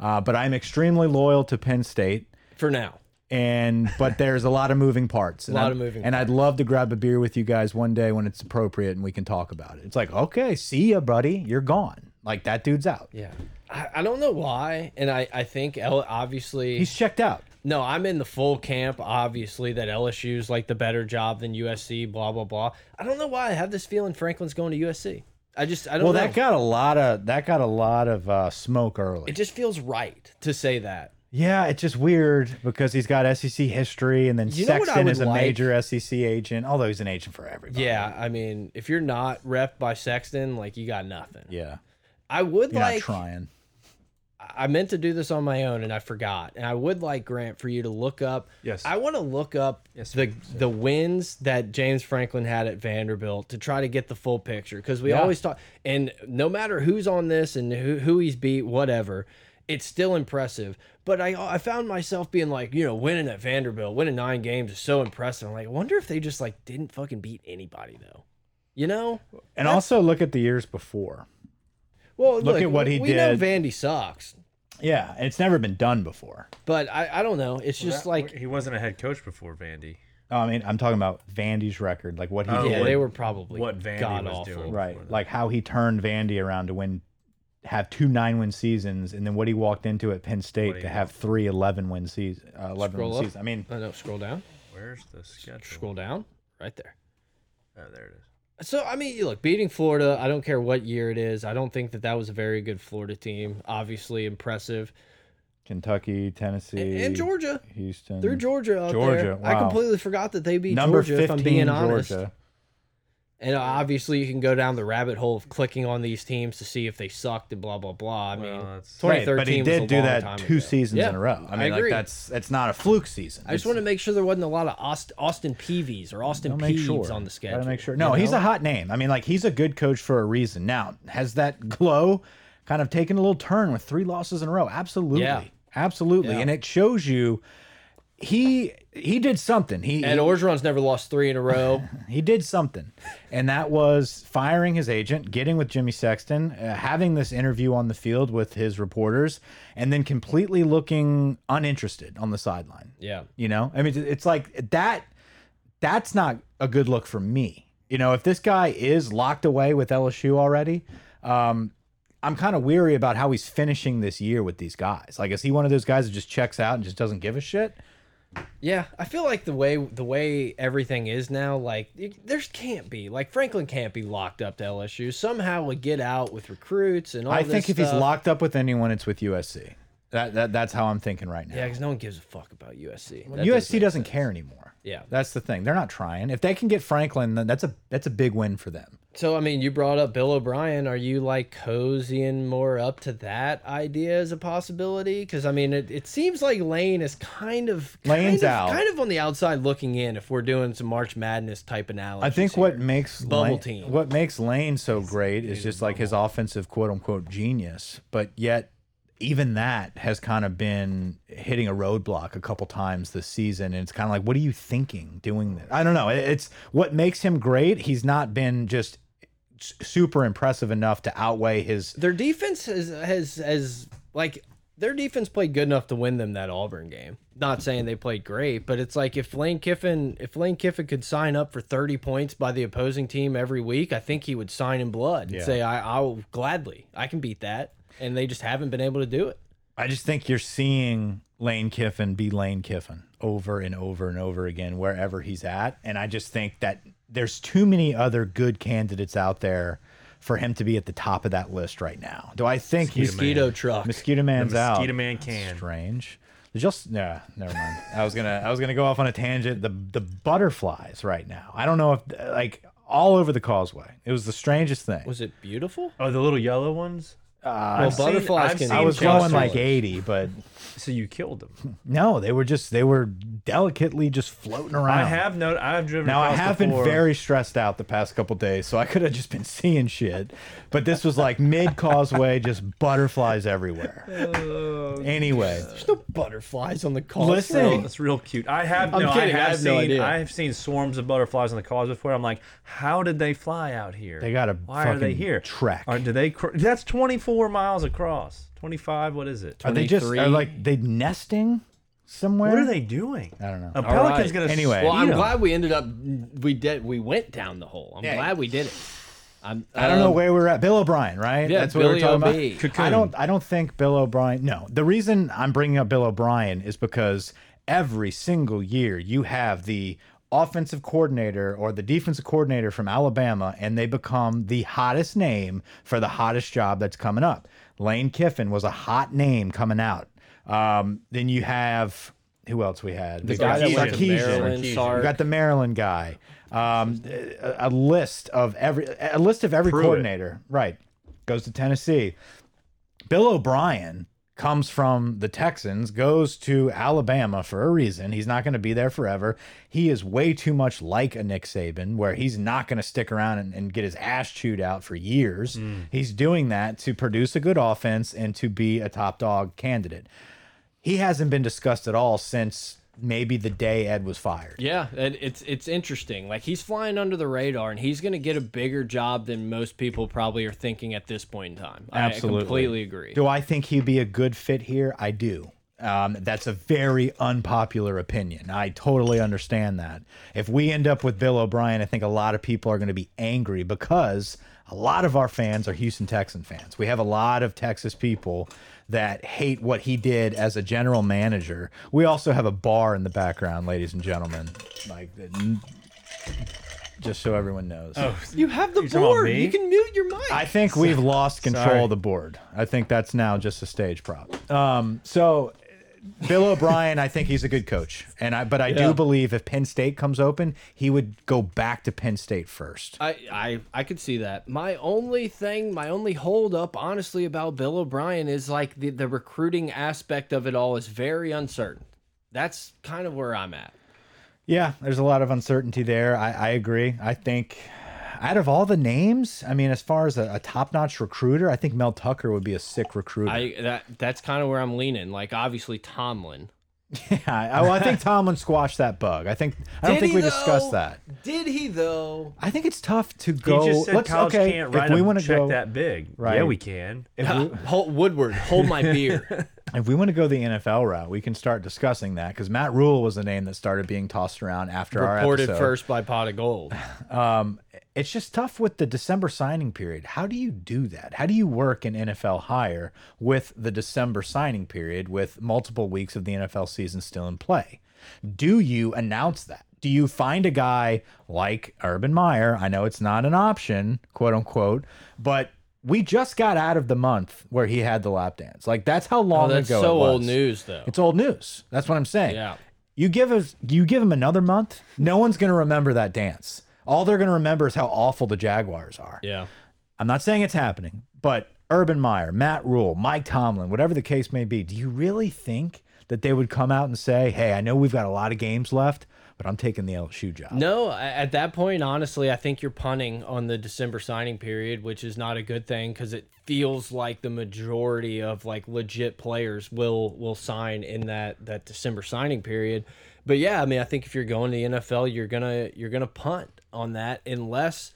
[SPEAKER 2] Uh, but I'm extremely loyal to Penn State,
[SPEAKER 1] For now,
[SPEAKER 2] and but there's a lot of moving parts. and
[SPEAKER 1] Lot
[SPEAKER 2] I'd-
[SPEAKER 1] of moving
[SPEAKER 2] And I'd love to grab a beer with you guys one day when it's appropriate, and we can talk about it. It's like, okay, see ya, buddy. You're gone. Like that dude's out.
[SPEAKER 1] yeah. I, I don't know why, and I I think El obviously
[SPEAKER 2] He's checked out.
[SPEAKER 1] No, I'm in the full camp, obviously, that LSU's like the better job than USC, blah, blah, blah. I don't know why I have this feeling Franklin's going to USC. I just, I don't
[SPEAKER 2] Well,
[SPEAKER 1] know.
[SPEAKER 2] that got a lot of that got a lot of uh, smoke early.
[SPEAKER 1] it just feels right to say that.
[SPEAKER 2] Yeah, it's just weird because he's got SEC history, and then
[SPEAKER 1] You know what I
[SPEAKER 2] Sexton
[SPEAKER 1] would
[SPEAKER 2] is a
[SPEAKER 1] like?
[SPEAKER 2] major SEC agent. Although he's an agent for everybody.
[SPEAKER 1] Yeah, I mean, if you're not rep by Sexton, like, you got nothing.
[SPEAKER 2] yeah.
[SPEAKER 1] I would
[SPEAKER 2] You're not
[SPEAKER 1] like,
[SPEAKER 2] trying.
[SPEAKER 1] I meant to do this on my own and I forgot. And I would like, Grant, for you to look up.
[SPEAKER 4] Yes.
[SPEAKER 1] I want to look up the, the wins that James Franklin had at Vanderbilt to try to get the full picture. Because we always talk, and no matter who's on this and who, who he's beat, whatever, it's still impressive. But I, I found myself being like, you know, winning at Vanderbilt, winning nine games is so impressive. I'm like, I wonder if they just like didn't fucking beat anybody, though. You know?
[SPEAKER 2] And also look at the years before.
[SPEAKER 1] Well, look,
[SPEAKER 2] at what he
[SPEAKER 1] we know
[SPEAKER 2] did.
[SPEAKER 1] Vandy sucks.
[SPEAKER 2] Yeah, and it's never been done before.
[SPEAKER 1] But I, I don't know. It's just like
[SPEAKER 4] he wasn't a head coach before Vandy.
[SPEAKER 2] Oh, I mean, I'm talking about Vandy's record, like what he
[SPEAKER 4] Oh,
[SPEAKER 2] did,
[SPEAKER 1] Yeah,
[SPEAKER 4] what-
[SPEAKER 1] they were probably
[SPEAKER 4] what Vandy
[SPEAKER 1] god
[SPEAKER 4] was
[SPEAKER 1] awful.
[SPEAKER 4] doing.
[SPEAKER 2] right? Like how he turned Vandy around to win, have two nine win seasons, and then what he walked into at Penn State to have three 11 win season, uh, 11 win
[SPEAKER 1] Scroll up.
[SPEAKER 2] season. I mean,
[SPEAKER 1] I know. Scroll down.
[SPEAKER 4] Where's the schedule?
[SPEAKER 1] Scroll down. Right there.
[SPEAKER 4] Oh, there it is.
[SPEAKER 1] So I mean, you look, beating Florida. I don't care what year it is. I don't think that that was a very good Florida team. Obviously impressive.
[SPEAKER 2] Kentucky, Tennessee,
[SPEAKER 1] And Georgia.
[SPEAKER 2] Houston,
[SPEAKER 1] Through Georgia out there.
[SPEAKER 2] Georgia,
[SPEAKER 1] I
[SPEAKER 2] wow.
[SPEAKER 1] completely forgot that they beat
[SPEAKER 2] number
[SPEAKER 1] Georgia. If I'm
[SPEAKER 2] 15
[SPEAKER 1] being honest.
[SPEAKER 2] Georgia.
[SPEAKER 1] And uh, obviously, you can go down the rabbit hole of clicking on these teams to see if they sucked and blah blah blah. I mean,
[SPEAKER 4] Well, that's-
[SPEAKER 2] Right,
[SPEAKER 1] 2013
[SPEAKER 2] but he
[SPEAKER 1] was a
[SPEAKER 2] did do
[SPEAKER 1] long
[SPEAKER 2] that
[SPEAKER 1] time
[SPEAKER 2] two
[SPEAKER 1] ago.
[SPEAKER 2] seasons
[SPEAKER 1] Yeah,
[SPEAKER 2] in a row. I mean,
[SPEAKER 1] agree.
[SPEAKER 2] like that's that's not a fluke season.
[SPEAKER 1] I just want to make sure there wasn't a lot of Aust Austin Peavies or Austin
[SPEAKER 2] make
[SPEAKER 1] Peeves
[SPEAKER 2] sure
[SPEAKER 1] on the schedule.
[SPEAKER 2] Gotta make sure. No, he's a hot name. I mean, like he's a good coach for a reason. Now, has that glow kind of taken a little turn with three losses in a row? Absolutely,
[SPEAKER 1] Yeah.
[SPEAKER 2] absolutely, and it shows you he he did something. He
[SPEAKER 1] And Orgeron's never lost three in a row.
[SPEAKER 2] he did something, and that was firing his agent, getting with Jimmy Sexton, uh, having this interview on the field with his reporters, and then completely looking uninterested on the sideline.
[SPEAKER 1] yeah.
[SPEAKER 2] You know, I mean, it's like that. That's not a good look for me. You know, if this guy is locked away with LSU already, um, I'm kind of weary about how he's finishing this year with these guys. Like, is he one of those guys that just checks out and just doesn't give a shit?
[SPEAKER 1] Yeah, I feel like the way the way everything is now, like y- there's can't be like Franklin can't be locked up to LSU. Somehow would get out with recruits and all.
[SPEAKER 2] I
[SPEAKER 1] this
[SPEAKER 2] think if he's
[SPEAKER 1] stuff.
[SPEAKER 2] locked up with anyone, it's with USC. That, that that's how I'm thinking right now.
[SPEAKER 1] yeah, because no one gives a fuck about USC. That
[SPEAKER 2] USC
[SPEAKER 1] make
[SPEAKER 2] doesn't
[SPEAKER 1] sense.
[SPEAKER 2] care anymore.
[SPEAKER 1] Yeah.
[SPEAKER 2] that's the thing. They're not trying. If they can get Franklin, then that's a that's a big win for them.
[SPEAKER 1] So I mean, you brought up Bill O'Brien. Are you like cozying more up to that idea as a possibility? Because I mean, it, it seems like Lane is kind of
[SPEAKER 2] Lane's
[SPEAKER 1] kind of,
[SPEAKER 2] out.
[SPEAKER 1] kind of on the outside looking in. If we're doing some March Madness type analysis,
[SPEAKER 2] I think
[SPEAKER 1] here.
[SPEAKER 2] what makes
[SPEAKER 1] Bubble
[SPEAKER 2] Lane,
[SPEAKER 1] team.
[SPEAKER 2] what makes Lane so great is just like his offensive quote unquote genius, but yet even that has kind of been hitting a roadblock a couple times this season and it's kind of like what are you thinking doing this? I don't know. It- It's what makes him great. He's not been just s- super impressive enough to outweigh his
[SPEAKER 1] their defense has has has like their defense played good enough to win them that Auburn game. Not saying they played great, but it's like if Lane Kiffin if Lane Kiffin could sign up for thirty points by the opposing team every week, I think he would sign in blood and say, I, "I'll gladly, I can beat that." And they just haven't been able to do it.
[SPEAKER 2] I just think you're seeing Lane Kiffin be Lane Kiffin over and over and over again wherever he's at. And I just think that there's too many other good candidates out there for him to be at the top of that list right now. Do I think he's
[SPEAKER 1] Mosquito truck.
[SPEAKER 2] Mosquito Man's
[SPEAKER 4] The Mosquito
[SPEAKER 2] out?
[SPEAKER 4] Man can.
[SPEAKER 2] Strange. There's just nah, never mind. I was gonna I was gonna go off on a tangent. The the butterflies right now. I don't know if like all over the causeway. It was the strangest thing.
[SPEAKER 1] Was it beautiful?
[SPEAKER 4] Oh, the little yellow ones.
[SPEAKER 1] well,
[SPEAKER 4] seen-
[SPEAKER 1] butterflies
[SPEAKER 4] I've
[SPEAKER 1] can.
[SPEAKER 4] seen
[SPEAKER 2] I was
[SPEAKER 4] Chelsea.
[SPEAKER 2] going like 80, but
[SPEAKER 4] So you killed them.
[SPEAKER 2] no, they were just they were delicately just floating around.
[SPEAKER 4] I have no. I've driven.
[SPEAKER 2] Now I
[SPEAKER 4] across
[SPEAKER 2] have
[SPEAKER 4] before.
[SPEAKER 2] been very stressed out the past couple days, so I could have just been seeing shit. But this was like mid causeway, just butterflies everywhere.
[SPEAKER 4] Oh,
[SPEAKER 2] anyway,
[SPEAKER 1] no butterflies on the causeway.
[SPEAKER 2] listen,
[SPEAKER 4] That's real cute. I have.
[SPEAKER 1] I'm
[SPEAKER 4] no,
[SPEAKER 1] kidding,
[SPEAKER 4] I have,
[SPEAKER 1] I have
[SPEAKER 4] seen,
[SPEAKER 1] no idea.
[SPEAKER 4] I have seen swarms of butterflies on the cause before. I'm like, how did they fly out here?
[SPEAKER 2] They got a
[SPEAKER 4] Why are they
[SPEAKER 2] fucking
[SPEAKER 4] here?
[SPEAKER 2] trek.
[SPEAKER 4] Or do they? cr- That's 24 miles across. 25. What is it?
[SPEAKER 2] are they just are
[SPEAKER 1] 23.
[SPEAKER 2] like they nesting somewhere?
[SPEAKER 4] What are they doing? I
[SPEAKER 2] don't know.
[SPEAKER 4] A
[SPEAKER 2] All
[SPEAKER 4] pelican's
[SPEAKER 1] right.
[SPEAKER 4] gonna
[SPEAKER 2] Anyway.
[SPEAKER 4] eat
[SPEAKER 1] Well, I'm
[SPEAKER 4] 'em.
[SPEAKER 1] glad we ended up. We did. We went down the hole. I'm
[SPEAKER 2] Yeah.
[SPEAKER 1] glad we did it. I'm,
[SPEAKER 2] I don't know
[SPEAKER 1] um,
[SPEAKER 2] where we're at. Bill O'Brien, right?
[SPEAKER 1] yeah,
[SPEAKER 2] That's what we're
[SPEAKER 1] Billy
[SPEAKER 2] talking
[SPEAKER 1] OB.
[SPEAKER 2] about.
[SPEAKER 4] Cocoon.
[SPEAKER 2] I don't. I don't think Bill O'Brien. No, the reason I'm bringing up Bill O'Brien is because every single year you have the offensive coordinator or the defensive coordinator from Alabama, and they become the hottest name for the hottest job that's coming up. Lane Kiffin was a hot name coming out. Um, then you have who else we had? The
[SPEAKER 1] guy that went to Maryland,
[SPEAKER 2] You
[SPEAKER 1] Sark.
[SPEAKER 2] got the Maryland guy. Um, a, a list of every a list of every
[SPEAKER 4] Pruitt.
[SPEAKER 2] coordinator. Right. Goes to Tennessee. Bill O'Brien comes from the Texans, goes to Alabama for a reason. He's not going to be there forever. He is way too much like a Nick Saban, where he's not going to stick around and, and get his ass chewed out for years. He's doing that to produce a good offense and to be a top dog candidate. He hasn't been discussed at all since maybe the day Ed was fired.
[SPEAKER 1] Yeah, it, it's it's interesting. Like he's flying under the radar, and he's going to get a bigger job than most people probably are thinking at this point in time. I
[SPEAKER 2] Absolutely.
[SPEAKER 1] completely agree.
[SPEAKER 2] Do I think he'd be a good fit here? I do. Um, that's a very unpopular opinion. I totally understand that. If we end up with Bill O'Brien, I think a lot of people are going to be angry because a lot of our fans are Houston Texan fans. We have a lot of Texas people that hate what he did as a general manager. We also have a bar in the background, ladies and gentlemen. Like, just so everyone knows.
[SPEAKER 1] You have the
[SPEAKER 4] talking about
[SPEAKER 1] board.
[SPEAKER 4] me?
[SPEAKER 1] You can mute your mic.
[SPEAKER 2] I think we've lost control
[SPEAKER 4] Sorry.
[SPEAKER 2] of the board. I think that's now just a stage prop. Um, so Bill O'Brien, I think he's a good coach, and I but I
[SPEAKER 1] Yeah.
[SPEAKER 2] do believe if Penn State comes open, he would go back to Penn State first.
[SPEAKER 1] I, I I could see that. My only thing, my only hold up, honestly, about Bill O'Brien is like the, the recruiting aspect of it all is very uncertain. That's kind of where I'm at.
[SPEAKER 2] Yeah, there's a lot of uncertainty there. I, I agree. I think out of all the names, I mean, as far as a, a top-notch recruiter, I think Mel Tucker would be a sick recruiter.
[SPEAKER 1] I that that's kind of where I'm leaning. Like obviously Tomlin.
[SPEAKER 2] yeah, I, well, I think Tomlin squashed that bug. I think I don't
[SPEAKER 1] Did
[SPEAKER 2] think
[SPEAKER 1] he,
[SPEAKER 2] we discussed
[SPEAKER 1] though?
[SPEAKER 2] that.
[SPEAKER 1] Did he though?
[SPEAKER 2] I think it's tough to
[SPEAKER 4] He
[SPEAKER 2] go.
[SPEAKER 4] just said
[SPEAKER 2] let's
[SPEAKER 4] college
[SPEAKER 2] okay.
[SPEAKER 4] can't
[SPEAKER 2] if
[SPEAKER 4] write
[SPEAKER 2] we
[SPEAKER 4] a
[SPEAKER 2] want to
[SPEAKER 4] check
[SPEAKER 2] go
[SPEAKER 4] that big.
[SPEAKER 2] Right.
[SPEAKER 4] Yeah, we can.
[SPEAKER 1] Hold, Woodward, hold my beer.
[SPEAKER 2] If we want to go the NFL route, we can start discussing that because Matt Rule was the name that started being tossed around after our
[SPEAKER 1] Reported
[SPEAKER 2] episode.
[SPEAKER 1] first by Pot of Gold.
[SPEAKER 2] It's just tough with the December signing period. How do you do that? How do you work an NFL hire with the December signing period with multiple weeks of the NFL season still in play? Do you announce that? Do you find a guy like Urban Meyer? I know it's not an option, quote unquote, but we just got out of the month where he had the lap dance. Like that's how long
[SPEAKER 1] Oh, that's
[SPEAKER 2] ago
[SPEAKER 1] so
[SPEAKER 2] it was.
[SPEAKER 1] old news though.
[SPEAKER 2] It's old news. That's what I'm saying.
[SPEAKER 1] Yeah.
[SPEAKER 2] You give us you give him another month, no one's gonna remember that dance. All they're gonna remember is how awful the Jaguars are.
[SPEAKER 1] yeah.
[SPEAKER 2] I'm not saying it's happening, but Urban Meyer, Matt Rule, Mike Tomlin, whatever the case may be, do you really think that they would come out and say, Hey, I know we've got a lot of games left, but I'm taking the LSU job?
[SPEAKER 1] No, a- at that point, honestly, I think you're punting on the December signing period, which is not a good thing because it feels like the majority of like legit players will will sign in that that December signing period. But yeah, I mean, I think if you're going to the NFL, you're gonna you're gonna punt on that unless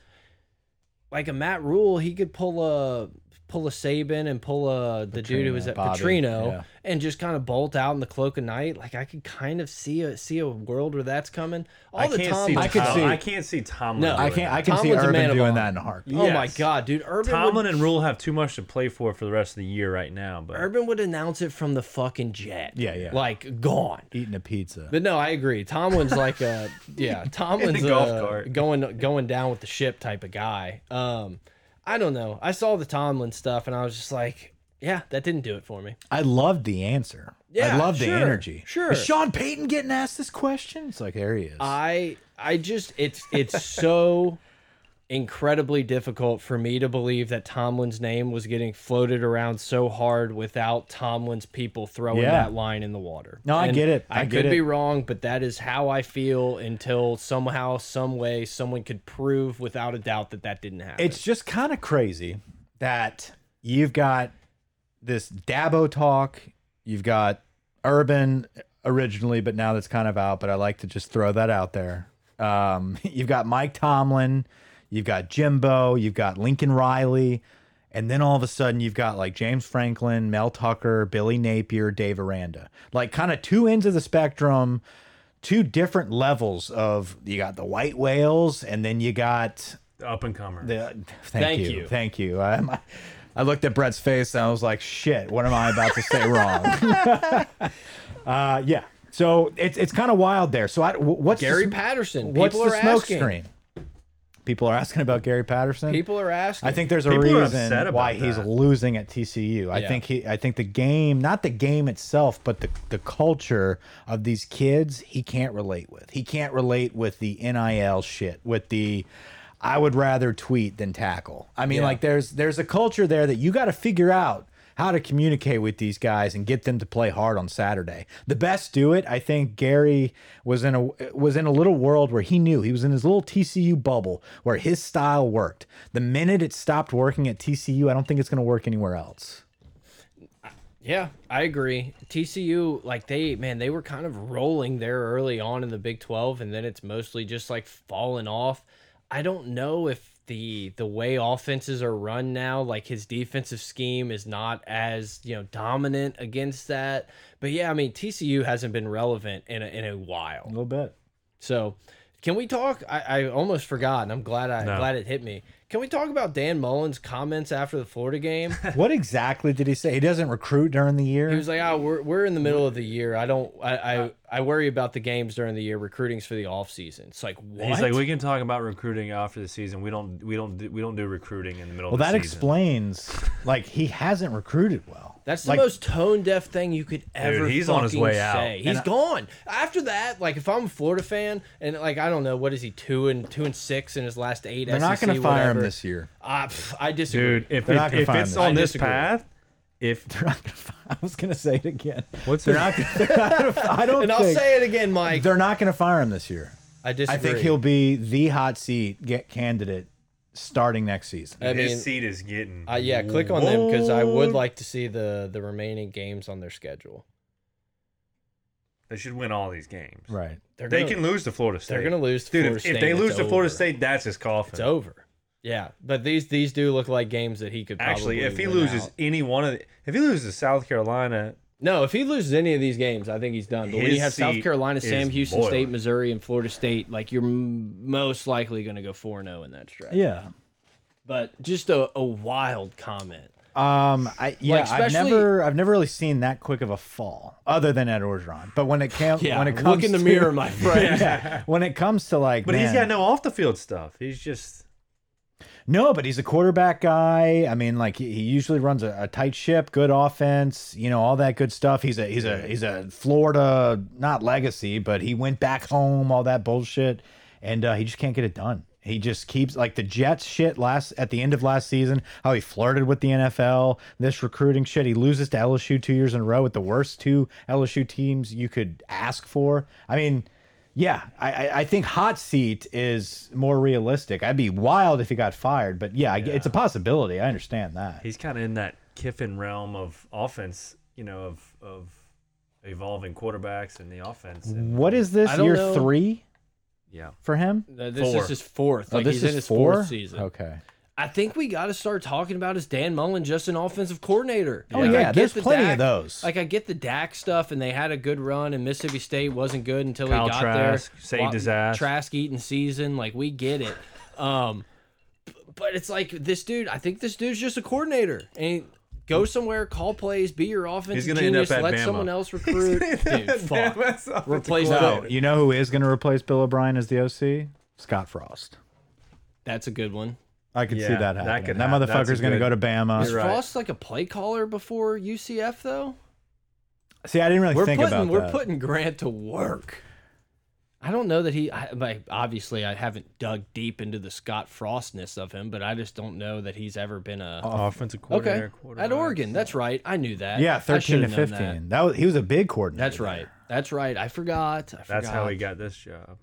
[SPEAKER 1] like a Matt Rule, he could pull a pull a Saban and pull a the dude who was
[SPEAKER 2] Petrino,
[SPEAKER 1] at
[SPEAKER 2] Bobby,
[SPEAKER 1] Petrino
[SPEAKER 2] yeah.
[SPEAKER 1] and just kind of bolt out in the cloak of night. Like I could kind of see a see a world where that's coming. All
[SPEAKER 4] I
[SPEAKER 1] the
[SPEAKER 4] can't
[SPEAKER 1] time.
[SPEAKER 4] see.
[SPEAKER 2] I could
[SPEAKER 4] Tom-
[SPEAKER 2] see-
[SPEAKER 4] I can't see Tomlin.
[SPEAKER 1] No.
[SPEAKER 4] doing
[SPEAKER 2] I can't. I
[SPEAKER 4] that.
[SPEAKER 2] can see
[SPEAKER 1] Tomlin's a man
[SPEAKER 2] Urban
[SPEAKER 1] of
[SPEAKER 2] doing
[SPEAKER 1] honor.
[SPEAKER 2] that in a heartbeat.
[SPEAKER 1] Oh my
[SPEAKER 4] Yes.
[SPEAKER 1] god, dude! Urban
[SPEAKER 4] Tomlin
[SPEAKER 1] would,
[SPEAKER 4] and Rule have too much to play for for the rest of the year right now. But
[SPEAKER 1] Urban would announce it from the fucking jet.
[SPEAKER 2] Yeah, yeah.
[SPEAKER 1] Like gone.
[SPEAKER 2] Eating a pizza.
[SPEAKER 1] But no, I agree. Tomlin's like a yeah, Tomlin's
[SPEAKER 4] In the golf
[SPEAKER 1] a
[SPEAKER 4] cart.
[SPEAKER 1] going going down with the ship type of guy. Um, I don't know. I saw the Tomlin stuff and I was just like, yeah, that didn't do it for me.
[SPEAKER 2] I loved the answer.
[SPEAKER 1] Yeah,
[SPEAKER 2] I loved
[SPEAKER 1] sure,
[SPEAKER 2] the energy.
[SPEAKER 1] sure.
[SPEAKER 2] Is Sean Payton getting asked this question? It's like there he is.
[SPEAKER 1] I I just it's it's so incredibly difficult for me to believe that Tomlin's name was getting floated around so hard without Tomlin's people throwing
[SPEAKER 2] Yeah.
[SPEAKER 1] that line in the water.
[SPEAKER 2] No, I
[SPEAKER 1] And
[SPEAKER 2] get it. I
[SPEAKER 1] could
[SPEAKER 2] get it.
[SPEAKER 1] be wrong, but that is how I feel until somehow, some way, someone could prove without a doubt that that didn't happen.
[SPEAKER 2] it's just kind of crazy that you've got this Dabo talk. You've got Urban originally, but now that's kind of out. But I like to just throw that out there. Um, you've got Mike Tomlin. You've got Jimbo. You've got Lincoln Riley. And then all of a sudden, you've got like James Franklin, Mel Tucker, Billy Napier, Dave Aranda. Like kind of two ends of the spectrum two different levels of you got the white whales and then you got
[SPEAKER 4] up and comer.
[SPEAKER 2] the thank,
[SPEAKER 1] Thank
[SPEAKER 2] you.
[SPEAKER 1] you.
[SPEAKER 2] thank you I, I looked at brett's face and i was like shit what am i about to say wrong uh yeah so it's it's kind of wild there so I, wh- what's the
[SPEAKER 1] Gary
[SPEAKER 2] sm-
[SPEAKER 1] Patterson.
[SPEAKER 2] what's
[SPEAKER 1] people
[SPEAKER 2] the
[SPEAKER 1] are
[SPEAKER 2] smoke
[SPEAKER 1] asking.
[SPEAKER 2] screen people are asking about gary patterson
[SPEAKER 1] People are asking.
[SPEAKER 2] I think there's a
[SPEAKER 4] People are upset
[SPEAKER 2] reason
[SPEAKER 4] about
[SPEAKER 2] why he's
[SPEAKER 4] that.
[SPEAKER 2] losing at TCU. I
[SPEAKER 1] Yeah.
[SPEAKER 2] think he I think the game, not the game itself, but the the culture of these kids, he can't relate with. He can't relate with the NIL shit, with the I would rather tweet than tackle. I mean,
[SPEAKER 1] Yeah.
[SPEAKER 2] like there's there's a culture there that you got to figure out how to communicate with these guys and get them to play hard on Saturday. The best do it. I think Gary was in a was in a little world where he knew he was in his little TCU bubble where his style worked. The minute it stopped working at TCU, I don't think it's going to work anywhere else.
[SPEAKER 1] Yeah, I agree. TCU, like they, man, they were kind of rolling there early on in the Big Twelve, and then it's mostly just like falling off. I don't know if the the way offenses are run now, like his defensive scheme is not as you know dominant against that. But yeah, I mean TCU hasn't been relevant in a, in a while.
[SPEAKER 2] little bit.
[SPEAKER 1] So can we talk? I, I almost forgot, and I'm glad I glad it hit me. Can we talk about Dan Mullen's comments after the Florida game?
[SPEAKER 2] What exactly did he say? He doesn't recruit during the year.
[SPEAKER 1] He was like, "Ah, we're we're in the middle of the year. I don't. I
[SPEAKER 4] Uh,
[SPEAKER 1] I, I worry about the games during the year. Recruiting's for the off season. It's like what?
[SPEAKER 4] He's like, we can talk about recruiting after the season. We don't, we don't, do, we don't do recruiting in the middle
[SPEAKER 2] well,
[SPEAKER 4] of the
[SPEAKER 2] that
[SPEAKER 4] season.
[SPEAKER 2] explains like he hasn't recruited well.
[SPEAKER 1] That's the
[SPEAKER 2] like-
[SPEAKER 1] most tone deaf thing you could ever.
[SPEAKER 4] he's on his
[SPEAKER 1] fucking
[SPEAKER 4] way
[SPEAKER 1] say.
[SPEAKER 4] out.
[SPEAKER 1] He's gone. After that, like if I'm a Florida fan and like I don't know what is he two and two and six in his last eight. E
[SPEAKER 2] They're not
[SPEAKER 1] going to
[SPEAKER 2] fire him this year.
[SPEAKER 1] I, Ah, pff, I disagree.
[SPEAKER 4] dude. If,
[SPEAKER 2] They're not
[SPEAKER 4] if,
[SPEAKER 2] gonna
[SPEAKER 4] if
[SPEAKER 2] find
[SPEAKER 4] it's
[SPEAKER 2] him.
[SPEAKER 1] I
[SPEAKER 4] on this
[SPEAKER 1] disagree.
[SPEAKER 4] path, if
[SPEAKER 2] They're not gonna fi- I was going to say it again.
[SPEAKER 4] what's
[SPEAKER 2] They're
[SPEAKER 4] it?
[SPEAKER 2] not. Gonna, they're not gonna, I don't.
[SPEAKER 1] And I'll
[SPEAKER 2] think-
[SPEAKER 1] say it again, Mike.
[SPEAKER 2] They're not going to fire him this year.
[SPEAKER 1] I disagree.
[SPEAKER 2] I think he'll be the hot seat get candidate starting next season.
[SPEAKER 1] I mean,
[SPEAKER 4] his seat is getting.
[SPEAKER 1] uh, yeah. Click on them because I would like to see the the remaining games on their schedule.
[SPEAKER 4] They should win all these games.
[SPEAKER 2] Right.
[SPEAKER 1] They're
[SPEAKER 4] They
[SPEAKER 1] gonna-
[SPEAKER 4] can lose to Florida State.
[SPEAKER 1] They're gonna lose to
[SPEAKER 4] Dude,
[SPEAKER 1] Florida
[SPEAKER 4] if,
[SPEAKER 1] State.
[SPEAKER 4] if they
[SPEAKER 1] it's
[SPEAKER 4] lose to Florida
[SPEAKER 1] over.
[SPEAKER 4] State, that's his coffin.
[SPEAKER 1] It's over. Yeah, but these these do look like games that he could probably
[SPEAKER 4] Actually, if he
[SPEAKER 1] win
[SPEAKER 4] loses
[SPEAKER 1] out.
[SPEAKER 4] any one of, the, if he loses to South Carolina,
[SPEAKER 1] no, if he loses any of these games, I think he's done. But when you
[SPEAKER 4] His
[SPEAKER 1] have South
[SPEAKER 4] seat
[SPEAKER 1] Carolina, Sam
[SPEAKER 4] is
[SPEAKER 1] Houston State,
[SPEAKER 4] boiling.
[SPEAKER 1] Missouri, and Florida State, like you're m- most likely going to go four zero in that stretch.
[SPEAKER 2] Yeah.
[SPEAKER 1] But just a, a wild comment.
[SPEAKER 2] Um. I yeah. I've
[SPEAKER 1] especially-
[SPEAKER 2] never I've never really seen that quick of a fall, other than at Orgeron. But when it came,
[SPEAKER 1] Yeah,
[SPEAKER 2] when it comes
[SPEAKER 1] look in the
[SPEAKER 2] to-
[SPEAKER 1] mirror, my friend.
[SPEAKER 2] yeah, when it comes to like,
[SPEAKER 4] but he's
[SPEAKER 2] man-
[SPEAKER 4] got no off the field stuff. He's just
[SPEAKER 2] No, but he's a quarterback guy. I mean, like he he usually runs a, a tight ship, good offense, you know, all that good stuff. He's a he's a he's a Florida not legacy, but he went back home, all that bullshit, and uh, he just can't get it done. He just keeps like the Jets shit last at the end of last season. How he flirted with the NFL, this recruiting shit. He loses to LSU two years in a row with the worst two LSU teams you could ask for. I mean. Yeah, I, I- I think hot seat is more realistic. I'd be wild if he got fired, but yeah, I g it's a possibility. I understand that.
[SPEAKER 4] he's kind of in that Kiffin realm of offense. You know, of of evolving quarterbacks and the offense. And,
[SPEAKER 2] What is this
[SPEAKER 1] I don't
[SPEAKER 2] year
[SPEAKER 1] know.
[SPEAKER 2] three
[SPEAKER 4] yeah,
[SPEAKER 2] for him?
[SPEAKER 1] Uh, This
[SPEAKER 4] Four.
[SPEAKER 1] is his fourth. Like
[SPEAKER 2] oh, this
[SPEAKER 1] he's
[SPEAKER 2] is
[SPEAKER 1] in his
[SPEAKER 2] four
[SPEAKER 1] fourth season.
[SPEAKER 2] Okay,
[SPEAKER 1] I think we got to start talking about is Dan Mullen just an offensive coordinator?
[SPEAKER 2] Oh,
[SPEAKER 1] Like, I
[SPEAKER 2] yeah,
[SPEAKER 1] get
[SPEAKER 2] there's
[SPEAKER 1] the
[SPEAKER 2] plenty of
[SPEAKER 1] Dak-
[SPEAKER 2] those.
[SPEAKER 1] Like I get the Dak stuff, and they had a good run, and Mississippi State wasn't good until
[SPEAKER 4] Kyle
[SPEAKER 1] he got
[SPEAKER 4] Trask
[SPEAKER 1] there.
[SPEAKER 4] saved
[SPEAKER 1] Wa-
[SPEAKER 4] his ass.
[SPEAKER 1] Trask eating season, like we get it. Um, b- but it's like this dude. I think this dude's just a coordinator, and he- go somewhere, call plays, be your offensive
[SPEAKER 4] gonna end
[SPEAKER 1] genius,
[SPEAKER 4] up at
[SPEAKER 1] let
[SPEAKER 4] Bama.
[SPEAKER 1] someone else recruit. dude, fuck. Replace
[SPEAKER 2] No,
[SPEAKER 1] Twitter.
[SPEAKER 2] you know who is going to replace Bill O'Brien as the OC? Scott Frost.
[SPEAKER 1] That's a good one.
[SPEAKER 2] I can see
[SPEAKER 4] Yeah,
[SPEAKER 2] that
[SPEAKER 4] that
[SPEAKER 2] happening. That,
[SPEAKER 4] could hap- that's a
[SPEAKER 2] motherfucker's going to go
[SPEAKER 4] good-
[SPEAKER 2] to Bama.
[SPEAKER 1] Was
[SPEAKER 4] right.
[SPEAKER 1] Frost like a play caller before UCF though?
[SPEAKER 2] See, I didn't really
[SPEAKER 1] We're
[SPEAKER 2] think
[SPEAKER 1] putting
[SPEAKER 2] about
[SPEAKER 1] we're
[SPEAKER 2] that.
[SPEAKER 1] putting Grant to work. I don't know that he. I, like, obviously, I haven't dug deep into the Scott Frostness of him, but I just don't know that he's ever been a
[SPEAKER 4] Offensive
[SPEAKER 1] okay
[SPEAKER 4] coordinator.
[SPEAKER 1] at
[SPEAKER 4] quarterback.
[SPEAKER 1] Oregon. That's right. I knew that.
[SPEAKER 2] yeah,
[SPEAKER 1] I
[SPEAKER 2] 13 to
[SPEAKER 1] should've known that.
[SPEAKER 2] 15. That. was he was a big coordinator.
[SPEAKER 1] That's
[SPEAKER 2] there.
[SPEAKER 1] right. That's right. I forgot. I forgot.
[SPEAKER 4] That's how he got this job.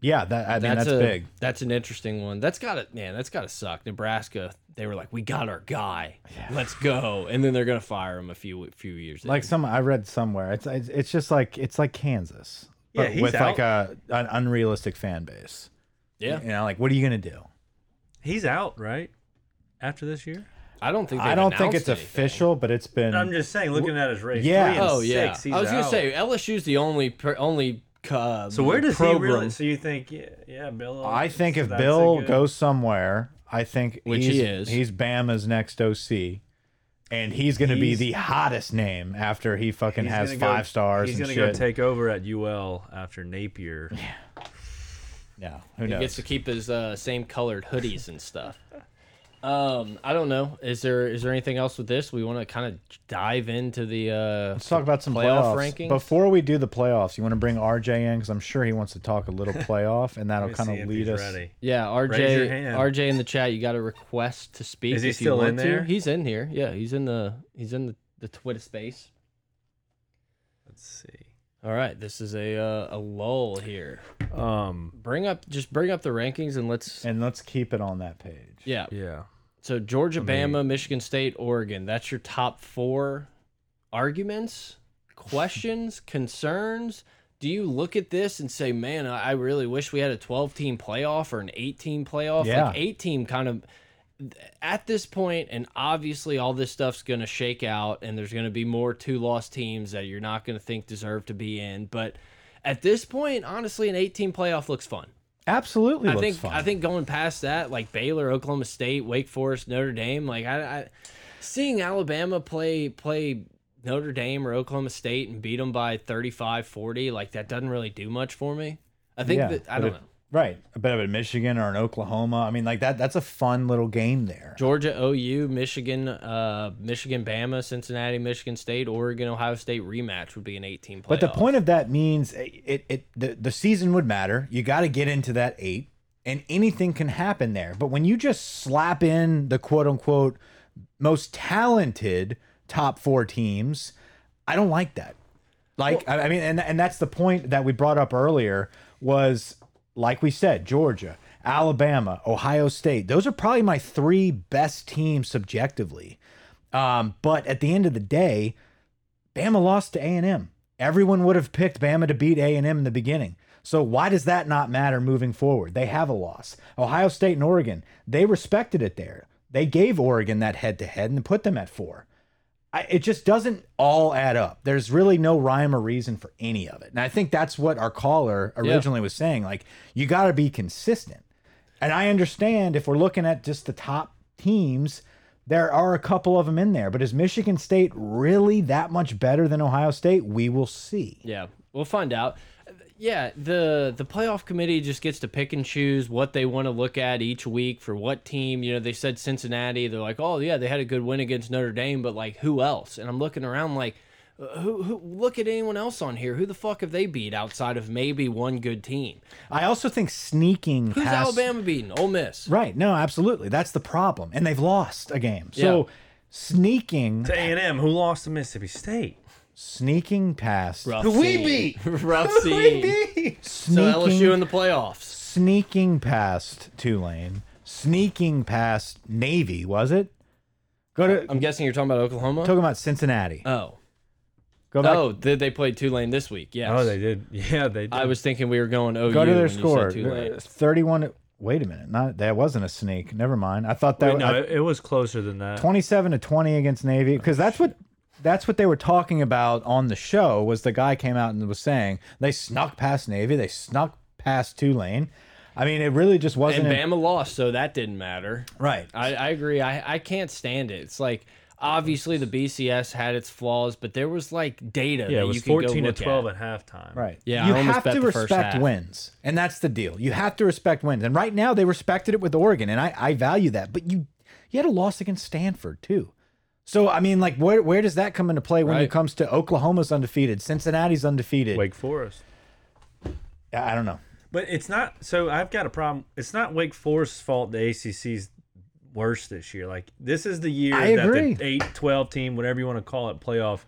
[SPEAKER 2] Yeah, that I mean that's,
[SPEAKER 1] a,
[SPEAKER 2] big.
[SPEAKER 1] That's an interesting one. That's got to man. That's got to suck. Nebraska. They were like, we got our guy. Let's go. And then they're gonna fire him a few few years.
[SPEAKER 2] Like
[SPEAKER 1] later.
[SPEAKER 2] some I read somewhere. It's it's, it's just like it's like Kansas.
[SPEAKER 4] Yeah,
[SPEAKER 2] But
[SPEAKER 4] he's
[SPEAKER 2] with like a an unrealistic fan base.
[SPEAKER 1] yeah.
[SPEAKER 2] You know, like what are you going to do?
[SPEAKER 4] He's out, right? After this year?
[SPEAKER 1] I don't think.
[SPEAKER 2] I
[SPEAKER 1] they've
[SPEAKER 2] don't think
[SPEAKER 1] announced
[SPEAKER 2] it's
[SPEAKER 1] anything.
[SPEAKER 2] official, but it's been
[SPEAKER 4] I'm just saying, looking at his race.
[SPEAKER 2] Yeah.
[SPEAKER 4] Three and
[SPEAKER 1] Oh yeah,
[SPEAKER 4] six, he's
[SPEAKER 1] I was gonna
[SPEAKER 4] out.
[SPEAKER 1] say LSU's the only per, only. Uh,
[SPEAKER 4] So where does
[SPEAKER 1] program
[SPEAKER 4] he really? So you think, yeah, yeah Bill?
[SPEAKER 2] I think if
[SPEAKER 4] that's a
[SPEAKER 2] Bill
[SPEAKER 4] good-
[SPEAKER 2] goes somewhere, I think
[SPEAKER 1] Which
[SPEAKER 2] he's,
[SPEAKER 1] he is.
[SPEAKER 2] He's Bama's next OC, and he's going to be
[SPEAKER 4] He's-
[SPEAKER 2] the hottest name after he fucking
[SPEAKER 4] he's
[SPEAKER 2] has
[SPEAKER 4] gonna go-
[SPEAKER 2] five stars
[SPEAKER 4] He's
[SPEAKER 2] and
[SPEAKER 4] gonna
[SPEAKER 2] shit.
[SPEAKER 4] go take over at UL after Napier.
[SPEAKER 2] yeah, who
[SPEAKER 1] he
[SPEAKER 2] knows?
[SPEAKER 1] gets to keep his uh, same colored hoodies and stuff. Um, I don't know. Is there is there anything else with this? We want to kind of dive into the. Uh,
[SPEAKER 2] Let's talk about some
[SPEAKER 1] Playoff
[SPEAKER 2] playoff
[SPEAKER 1] rankings?
[SPEAKER 2] rankings before we do the playoffs. You want to bring RJ in because I'm sure he wants to talk a little playoff, and that'll
[SPEAKER 4] Let me
[SPEAKER 2] kind
[SPEAKER 4] see
[SPEAKER 2] of
[SPEAKER 4] if
[SPEAKER 2] lead
[SPEAKER 4] he's
[SPEAKER 2] us.
[SPEAKER 4] ready.
[SPEAKER 1] yeah,
[SPEAKER 4] Raise your
[SPEAKER 1] RJ
[SPEAKER 4] hand.
[SPEAKER 1] RJ in the chat. You got a request to speak.
[SPEAKER 4] Is he
[SPEAKER 1] if you
[SPEAKER 4] still
[SPEAKER 1] want
[SPEAKER 4] in there?
[SPEAKER 1] To. He's in here. Yeah, he's in the he's in the, the Twitter space.
[SPEAKER 4] Let's see.
[SPEAKER 1] All right, this is a uh, a lull here.
[SPEAKER 4] Um.
[SPEAKER 1] Bring up just bring up the rankings and let's
[SPEAKER 2] And let's keep it on that page.
[SPEAKER 1] yeah
[SPEAKER 4] Yeah.
[SPEAKER 1] So Georgia, Bama, Michigan State, Oregon. That's your top four arguments, questions, concerns. Do you look at this and say, "Man, I I really wish we had a 12-team playoff or an 18 playoff"?
[SPEAKER 2] Yeah.
[SPEAKER 1] Like 18 kind of at this point, and obviously all this stuff's going to shake out, and there's going to be more two-loss teams that you're not going to think deserve to be in. But at this point, honestly, an 18 playoff looks fun.
[SPEAKER 2] Absolutely,
[SPEAKER 1] I
[SPEAKER 2] looks
[SPEAKER 1] think
[SPEAKER 2] fun.
[SPEAKER 1] I think going past that, like Baylor, Oklahoma State, Wake Forest, Notre Dame, like I, I seeing Alabama play play Notre Dame or Oklahoma State and beat them by 35 40, like that doesn't really do much for me. I think that I
[SPEAKER 2] but
[SPEAKER 1] don't
[SPEAKER 2] if-
[SPEAKER 1] know.
[SPEAKER 2] Right, a bit of a Michigan or an Oklahoma. I mean, like that—that's a fun little game there.
[SPEAKER 1] Georgia, OU, Michigan, uh, Michigan, Bama, Cincinnati, Michigan State, Oregon, Ohio State rematch would be an 18 playoff.
[SPEAKER 2] But the point of that means it, it, it the, the season would matter. You got to get into that eight, and anything can happen there. But when you just slap in the quote unquote most talented top four teams, I don't like that. Like I I mean, and and that's the point that we brought up earlier was like we said, Georgia, Alabama, Ohio State. Those are probably my three best teams subjectively. Um, but at the end of the day, Bama lost to A&M. Everyone would have picked Bama to beat A&M in the beginning. So why does that not matter moving forward? They have a loss. Ohio State and Oregon, they respected it there. They gave Oregon that head-to-head and put them at 4. I, it just doesn't all add up. There's really no rhyme or reason for any of it. And I think that's what our caller originally was saying, like you got to be consistent. And I understand if we're looking at just the top teams, there are a couple of them in there. But is Michigan State really that much better than Ohio State? We will see.
[SPEAKER 1] Yeah, we'll find out. Yeah, the the playoff committee just gets to pick and choose what they want to look at each week for what team. You know, they said Cincinnati. They're like, oh yeah, they had a good win against Notre Dame, but like who else? And I'm looking around like, uh, who who look at anyone else on here? Who the fuck have they beat outside of maybe one good team?
[SPEAKER 2] I also think sneaking
[SPEAKER 1] Who's
[SPEAKER 2] past-
[SPEAKER 1] Alabama beating? Ole Miss.
[SPEAKER 2] Right. No, absolutely. That's the problem. And they've lost a game. So
[SPEAKER 1] Yeah.
[SPEAKER 2] sneaking
[SPEAKER 4] To A and M, who lost to Mississippi State.
[SPEAKER 2] sneaking past
[SPEAKER 1] Rough
[SPEAKER 2] Who
[SPEAKER 1] seed. Rough
[SPEAKER 2] Who we
[SPEAKER 1] seed.
[SPEAKER 2] beat?
[SPEAKER 1] So
[SPEAKER 2] Sneaking
[SPEAKER 1] LSU in the playoffs.
[SPEAKER 2] sneaking past Tulane, sneaking past Navy, was it? Go to
[SPEAKER 1] I'm guessing you're talking about Oklahoma.
[SPEAKER 2] talking about Cincinnati.
[SPEAKER 1] Oh,
[SPEAKER 2] Go back. Oh,
[SPEAKER 1] oh, did they play Tulane this week? Yes.
[SPEAKER 4] Oh, they did. Yeah, they did.
[SPEAKER 1] I was thinking we were going. OU
[SPEAKER 2] go to
[SPEAKER 1] when
[SPEAKER 2] their
[SPEAKER 1] you said
[SPEAKER 2] score.
[SPEAKER 1] Tulane.
[SPEAKER 2] Thirty-one. Wait a minute, not that wasn't a sneak. Never mind. I thought that
[SPEAKER 4] Wait, Oh, no,
[SPEAKER 2] I-
[SPEAKER 4] it, it was closer than that.
[SPEAKER 2] 27 to 20 against
[SPEAKER 1] Oh,
[SPEAKER 2] Navy because that's what that's what they were talking about on the show was the guy came out and was saying they snuck past Navy, they snuck past Tulane. I mean, it really just
[SPEAKER 1] And
[SPEAKER 2] wasn't
[SPEAKER 1] Bama lost, so that didn't matter.
[SPEAKER 2] right.
[SPEAKER 1] I, I agree. I, I can't stand it. It's like obviously the BCS had its flaws, but there was like data.
[SPEAKER 4] yeah,
[SPEAKER 1] that
[SPEAKER 4] it was
[SPEAKER 1] you could go
[SPEAKER 4] 14 to
[SPEAKER 1] look at.
[SPEAKER 4] 12 at, halftime.
[SPEAKER 2] Right.
[SPEAKER 1] Yeah,
[SPEAKER 2] You
[SPEAKER 1] I almost
[SPEAKER 2] have
[SPEAKER 1] bet
[SPEAKER 2] to
[SPEAKER 1] the first
[SPEAKER 2] respect
[SPEAKER 1] half.
[SPEAKER 2] wins, and that's the deal. You have to respect wins, and right now they respected it with Oregon, and I I value that. But you you had a loss against Stanford too. So I mean, like, where where does that come into play when it
[SPEAKER 1] Right.
[SPEAKER 2] comes to Oklahoma's undefeated, Cincinnati's undefeated?
[SPEAKER 4] Wake Forest.
[SPEAKER 2] I I don't know.
[SPEAKER 4] But it's not. So I've got a problem. It's not Wake Forest's fault. The ACC's worse this year. Like this is the year
[SPEAKER 2] I
[SPEAKER 4] that
[SPEAKER 2] agree.
[SPEAKER 4] the 8, 12 team, whatever you want to call it, playoff.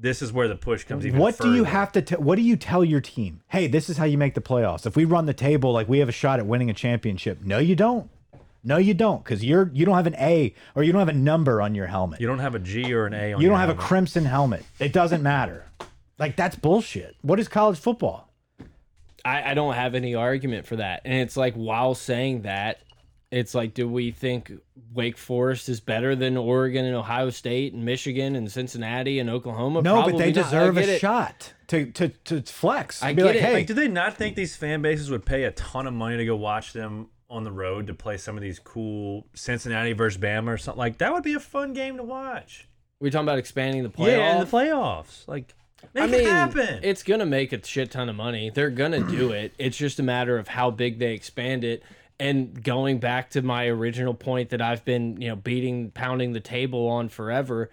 [SPEAKER 4] This is where the push comes. Even
[SPEAKER 2] what do you
[SPEAKER 4] further.
[SPEAKER 2] have to t- what do you tell your team hey this is how you make the playoffs if we run the table like we have a shot at winning a championship no you don't no you don't because you're you don't have an a or you don't have a number on your helmet
[SPEAKER 4] You don't have a G or an A on.
[SPEAKER 2] you
[SPEAKER 4] your
[SPEAKER 2] don't have a
[SPEAKER 4] helmet.
[SPEAKER 2] crimson helmet it doesn't matter like that's bullshit what is college football
[SPEAKER 1] I, I don't have any argument for that. And it's like while saying that, it's like, do we think Wake Forest is better than Oregon and Ohio State and Michigan and Cincinnati and Oklahoma?
[SPEAKER 2] no but
[SPEAKER 1] Probably
[SPEAKER 2] they
[SPEAKER 1] not. I
[SPEAKER 2] deserve
[SPEAKER 1] get
[SPEAKER 2] a
[SPEAKER 1] it.
[SPEAKER 2] shot to to to flex
[SPEAKER 1] I
[SPEAKER 2] Be
[SPEAKER 1] get
[SPEAKER 2] like,
[SPEAKER 1] it.
[SPEAKER 2] hey
[SPEAKER 4] Like, do they not think these fan bases would pay a ton of money to go watch them on the road to play some of these cool Cincinnati versus Bama or something? Like that would be a fun game to watch.
[SPEAKER 1] We're talking about expanding the playoff.
[SPEAKER 4] Yeah, in the playoffs. Like make
[SPEAKER 1] I mean,
[SPEAKER 4] it happen.
[SPEAKER 1] it's gonna make a shit ton of money. They're gonna do it. It's just a matter of how big they expand it. And going back to my original point that I've been, you know, beating, pounding the table on forever,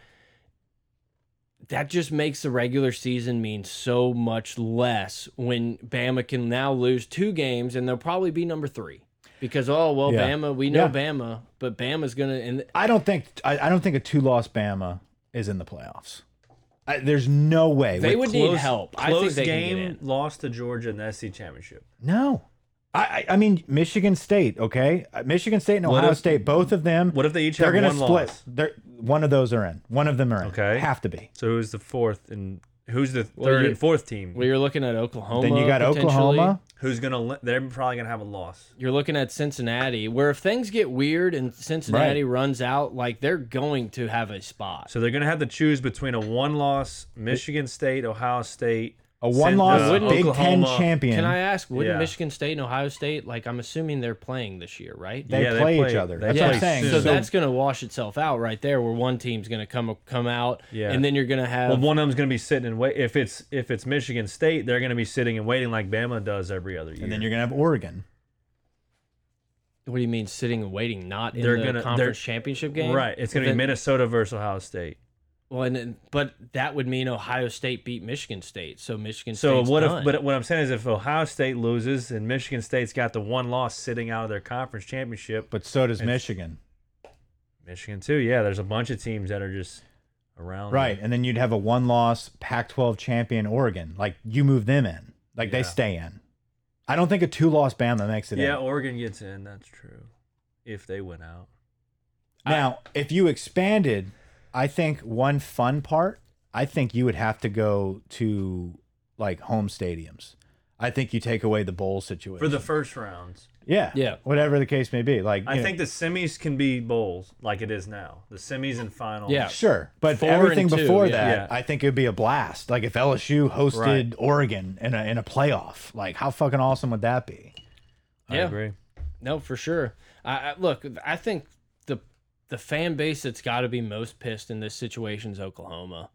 [SPEAKER 1] that just makes the regular season mean so much less when Bama can now lose two games and they'll probably be number three. Because oh well,
[SPEAKER 2] Yeah.
[SPEAKER 1] Bama, we know
[SPEAKER 2] Yeah.
[SPEAKER 1] Bama, but Bama's gonna and
[SPEAKER 2] I don't think I, I don't think a two loss Bama is in the playoffs. I, there's no way.
[SPEAKER 1] They
[SPEAKER 2] With-
[SPEAKER 1] would need help. I think
[SPEAKER 4] Close
[SPEAKER 1] they can get
[SPEAKER 4] game
[SPEAKER 1] in.
[SPEAKER 4] lost to Georgia in the SC championship.
[SPEAKER 2] No. I, I I mean Michigan State, okay? Uh, Michigan State and
[SPEAKER 4] What
[SPEAKER 2] Ohio
[SPEAKER 4] if-
[SPEAKER 2] State, both of them.
[SPEAKER 4] what if they each
[SPEAKER 2] they're
[SPEAKER 4] have
[SPEAKER 2] gonna
[SPEAKER 4] one
[SPEAKER 2] split.
[SPEAKER 4] loss?
[SPEAKER 2] They're, one of those are in. One of them are in.
[SPEAKER 4] Okay.
[SPEAKER 2] have to be.
[SPEAKER 4] So who's the fourth and who's the third
[SPEAKER 1] Well, you-
[SPEAKER 4] and fourth team?
[SPEAKER 1] well, you're looking at Oklahoma.
[SPEAKER 2] then you got
[SPEAKER 1] potentially.
[SPEAKER 2] Oklahoma.
[SPEAKER 4] who's gonna? li- They're probably gonna have a loss.
[SPEAKER 1] you're looking at Cincinnati, where if things get weird and Cincinnati runs out, like they're going to have a spot.
[SPEAKER 4] So they're gonna have to choose between a one-loss Michigan State, Ohio State,
[SPEAKER 2] A one loss
[SPEAKER 4] Cin- uh,
[SPEAKER 2] Big
[SPEAKER 4] Oklahoma.
[SPEAKER 2] Ten champion.
[SPEAKER 1] Can I ask, wouldn't
[SPEAKER 4] Yeah.
[SPEAKER 1] Michigan State and Ohio State, like I'm assuming they're playing this year, right?
[SPEAKER 2] They
[SPEAKER 4] Yeah, they
[SPEAKER 2] play, each
[SPEAKER 4] play-
[SPEAKER 2] other.
[SPEAKER 4] they
[SPEAKER 2] That's
[SPEAKER 4] play
[SPEAKER 2] what I'm saying.
[SPEAKER 4] soon.
[SPEAKER 1] so
[SPEAKER 4] So-
[SPEAKER 1] that's going to wash itself out right there, where one team's going to come come out,
[SPEAKER 4] Yeah.
[SPEAKER 1] and then you're going to have
[SPEAKER 4] Well, one of them's going to be sitting and wait. If it's if it's Michigan State, they're going to be sitting and waiting like Bama does every other year.
[SPEAKER 2] and then you're gonna have Oregon.
[SPEAKER 1] what do you mean sitting and waiting, not in
[SPEAKER 4] They're
[SPEAKER 1] the
[SPEAKER 4] gonna-
[SPEAKER 1] conference
[SPEAKER 4] they're-
[SPEAKER 1] championship game,
[SPEAKER 4] right. It's going to
[SPEAKER 1] Then-
[SPEAKER 4] be Minnesota versus Ohio State.
[SPEAKER 1] Well, and then, but that would mean Ohio State beat Michigan State, so Michigan
[SPEAKER 4] So
[SPEAKER 1] State's
[SPEAKER 4] what
[SPEAKER 1] done.
[SPEAKER 4] if? But what I'm saying is, if Ohio State loses and Michigan State's got the one loss sitting out of their conference championship,
[SPEAKER 2] But so does Michigan.
[SPEAKER 4] Michigan too. Yeah, there's a bunch of teams that are just around.
[SPEAKER 2] Right. And then you'd have a one loss Pac twelve champion Oregon. Like you move them in. Like they
[SPEAKER 4] Yeah.
[SPEAKER 2] stay in. I don't think a two loss Bama makes it in.
[SPEAKER 4] Yeah, Oregon gets in. That's true. If they went out,
[SPEAKER 2] Now, if you expanded, I think one fun part, I think you would have to go to like home stadiums. I think you take away the bowl situation.
[SPEAKER 4] for the first rounds,
[SPEAKER 2] yeah,
[SPEAKER 1] Yeah.
[SPEAKER 2] whatever the case may be. Like,
[SPEAKER 4] I
[SPEAKER 2] you know,
[SPEAKER 4] think the semis can be bowls like it is now. The semis and finals.
[SPEAKER 1] Yeah.
[SPEAKER 2] sure, but
[SPEAKER 1] Uh, Four
[SPEAKER 2] everything
[SPEAKER 1] and two,
[SPEAKER 2] before
[SPEAKER 1] yeah.
[SPEAKER 2] that,
[SPEAKER 4] Yeah.
[SPEAKER 2] I think it would be a blast. Like if LSU hosted
[SPEAKER 4] Right.
[SPEAKER 2] Oregon in a in a playoff, like how fucking awesome would that be?
[SPEAKER 4] I
[SPEAKER 1] Yeah.
[SPEAKER 4] agree.
[SPEAKER 1] No, for sure. I, I look. I think the the fan base that's got to be most pissed in this situation is Oklahoma.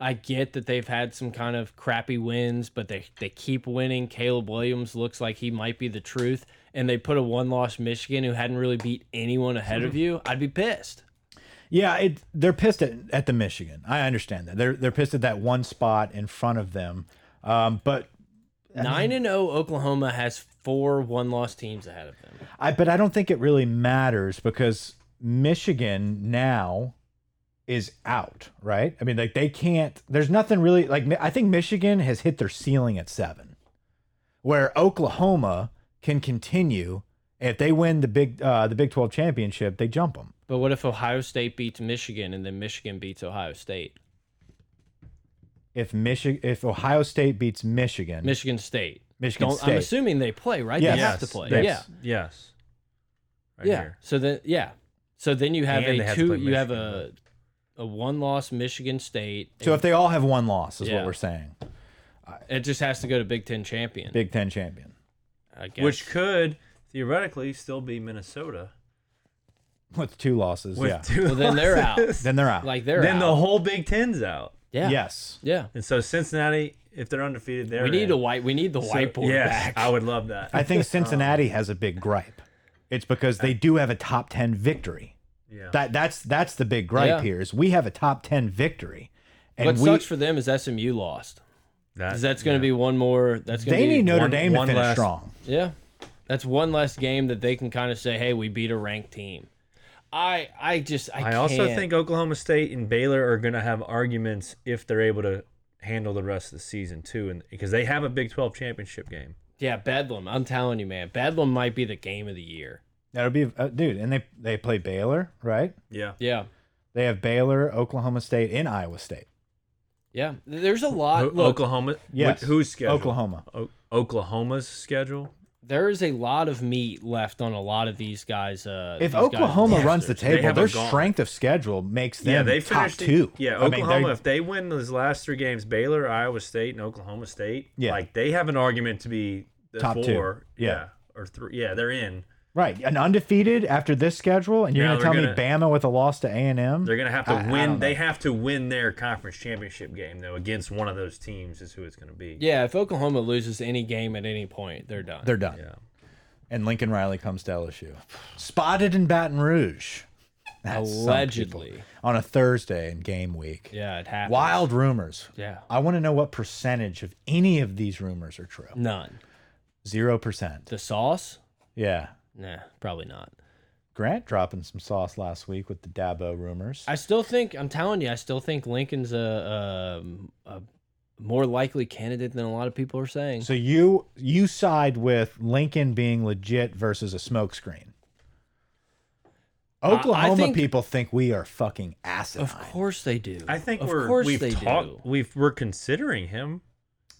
[SPEAKER 1] I get that they've had some kind of crappy wins, but they they keep winning. Caleb Williams looks like he might be the truth, and they put a one loss Michigan who hadn't really beat anyone ahead
[SPEAKER 2] Mm-hmm.
[SPEAKER 1] of you. I'd be pissed.
[SPEAKER 2] Yeah, it, they're pissed at, at the Michigan. I understand that. They're they're pissed at that one spot in front of them. Um, but
[SPEAKER 1] Nine and zero Oklahoma has four one loss teams ahead of them.
[SPEAKER 2] I but I don't think it really matters because Michigan now is out, right? I mean, like they can't. There's nothing really like I think Michigan has hit their ceiling at seven, where Oklahoma can continue if they win the big uh, the Big Twelve championship, they jump them.
[SPEAKER 1] But what if Ohio State beats Michigan and then Michigan beats Ohio State?
[SPEAKER 2] If Michigan, if Ohio State beats Michigan,
[SPEAKER 1] Michigan State.
[SPEAKER 2] Michigan
[SPEAKER 1] Don't-
[SPEAKER 2] State.
[SPEAKER 1] I'm assuming they play, right?
[SPEAKER 2] Yes.
[SPEAKER 1] They have
[SPEAKER 4] Yes.
[SPEAKER 1] to play.
[SPEAKER 4] They-
[SPEAKER 1] Yeah.
[SPEAKER 4] Yes. right
[SPEAKER 1] yeah.
[SPEAKER 4] here.
[SPEAKER 1] So then yeah. So then you have
[SPEAKER 4] And they
[SPEAKER 1] a
[SPEAKER 4] have to
[SPEAKER 1] two
[SPEAKER 4] play
[SPEAKER 1] you have a
[SPEAKER 4] Michigan,
[SPEAKER 1] a one loss Michigan State.
[SPEAKER 2] So if they all have one loss, is
[SPEAKER 1] Yeah.
[SPEAKER 2] what we're saying.
[SPEAKER 1] It just has to go to Big Ten champion.
[SPEAKER 2] Big Ten champion.
[SPEAKER 1] I guess.
[SPEAKER 4] Which could theoretically still be Minnesota.
[SPEAKER 2] With two losses,
[SPEAKER 4] With
[SPEAKER 2] yeah.
[SPEAKER 4] two
[SPEAKER 1] well then they're out.
[SPEAKER 4] losses.
[SPEAKER 2] then they're out.
[SPEAKER 1] Like they're
[SPEAKER 4] ah. then
[SPEAKER 1] out.
[SPEAKER 4] the whole Big Ten's out.
[SPEAKER 1] yeah.
[SPEAKER 2] Yes.
[SPEAKER 1] Yeah.
[SPEAKER 4] And so Cincinnati, if they're undefeated, they're
[SPEAKER 1] We need
[SPEAKER 4] in.
[SPEAKER 1] a white we need the
[SPEAKER 4] So,
[SPEAKER 1] whiteboard
[SPEAKER 4] yes,
[SPEAKER 1] back.
[SPEAKER 4] I would love that.
[SPEAKER 2] I think Cincinnati has a big gripe. It's because they do have a top 10 victory.
[SPEAKER 4] yeah.
[SPEAKER 2] That that's that's the big gripe
[SPEAKER 1] Yeah.
[SPEAKER 2] here is we have a top 10 victory. And
[SPEAKER 1] what
[SPEAKER 2] we
[SPEAKER 1] sucks for them is SMU lost. 'Cause that's going to be one more. That's going to
[SPEAKER 2] they
[SPEAKER 1] be
[SPEAKER 2] need Notre
[SPEAKER 4] one-
[SPEAKER 2] Dame to
[SPEAKER 4] one
[SPEAKER 2] finish
[SPEAKER 4] last-
[SPEAKER 2] strong.
[SPEAKER 1] Yeah, that's one less game that they can kind of say, "Hey, we beat a ranked team." I I just I,
[SPEAKER 4] I also
[SPEAKER 1] can't.
[SPEAKER 4] think Oklahoma State and Baylor are going to have arguments if they're able to handle the rest of the season too, and because they have a Big Twelve championship game.
[SPEAKER 1] yeah, Bedlam. I'm telling you, man, Bedlam might be the game of the year.
[SPEAKER 2] That'll be uh, dude, and they they play Baylor, right?
[SPEAKER 4] Yeah.
[SPEAKER 1] Yeah,
[SPEAKER 2] They have Baylor, Oklahoma State, and Iowa State.
[SPEAKER 1] yeah. There's a lot. Look,
[SPEAKER 4] Oklahoma.
[SPEAKER 2] Yes.
[SPEAKER 4] Wh- Who's schedule?
[SPEAKER 2] Oklahoma.
[SPEAKER 4] O- Oklahoma's schedule.
[SPEAKER 1] there is a lot of meat left on a lot of these guys. Uh,
[SPEAKER 2] If
[SPEAKER 1] these guys'
[SPEAKER 2] Oklahoma runs the
[SPEAKER 1] rosters.
[SPEAKER 2] table,
[SPEAKER 4] haven't
[SPEAKER 2] their
[SPEAKER 4] gone.
[SPEAKER 2] strength of schedule makes them
[SPEAKER 4] yeah, they
[SPEAKER 2] top
[SPEAKER 4] finished
[SPEAKER 2] two.
[SPEAKER 4] Yeah,
[SPEAKER 2] I mean,
[SPEAKER 4] Oklahoma.
[SPEAKER 2] they're-
[SPEAKER 4] if they win those last three games, Baylor, Iowa State, and Oklahoma State,
[SPEAKER 2] Yeah.
[SPEAKER 4] like they have an argument to be the
[SPEAKER 2] Top two.
[SPEAKER 4] four.
[SPEAKER 2] Yeah.
[SPEAKER 4] or three. Yeah, they're in.
[SPEAKER 2] right, an undefeated after this schedule, and you're
[SPEAKER 4] Now
[SPEAKER 2] going to tell
[SPEAKER 4] they're
[SPEAKER 2] me Bama with a loss to A and M.
[SPEAKER 4] They're gonna have to
[SPEAKER 2] I- I
[SPEAKER 4] win.
[SPEAKER 2] don't
[SPEAKER 4] They have to win their conference championship game though against one of those teams is who it's gonna be.
[SPEAKER 1] yeah, if Oklahoma loses any game at any point, they're done.
[SPEAKER 2] They're done.
[SPEAKER 4] Yeah.
[SPEAKER 2] And Lincoln Riley comes to LSU, spotted in Baton Rouge, That's some people.
[SPEAKER 1] Allegedly.
[SPEAKER 2] on a Thursday in game week.
[SPEAKER 1] yeah, it happens.
[SPEAKER 2] Wild rumors.
[SPEAKER 1] Yeah,
[SPEAKER 2] I want to know what percentage of any of these rumors are true.
[SPEAKER 1] none.
[SPEAKER 2] Zero percent.
[SPEAKER 1] The sauce?
[SPEAKER 2] Yeah.
[SPEAKER 1] Nah, probably not.
[SPEAKER 2] Grant dropping some sauce last week with the Dabo rumors.
[SPEAKER 1] I still think I'm telling you, I still think Lincoln's a, um, a, a more likely candidate than a lot of people are saying.
[SPEAKER 2] So you you side with Lincoln being legit versus a smokescreen.
[SPEAKER 1] I
[SPEAKER 2] Oklahoma
[SPEAKER 1] think-
[SPEAKER 2] people think we are fucking asinine.
[SPEAKER 1] of course they do.
[SPEAKER 4] I think
[SPEAKER 1] of
[SPEAKER 4] we're
[SPEAKER 1] course
[SPEAKER 4] we've
[SPEAKER 1] they
[SPEAKER 4] talked
[SPEAKER 1] do.
[SPEAKER 4] we've we're considering him.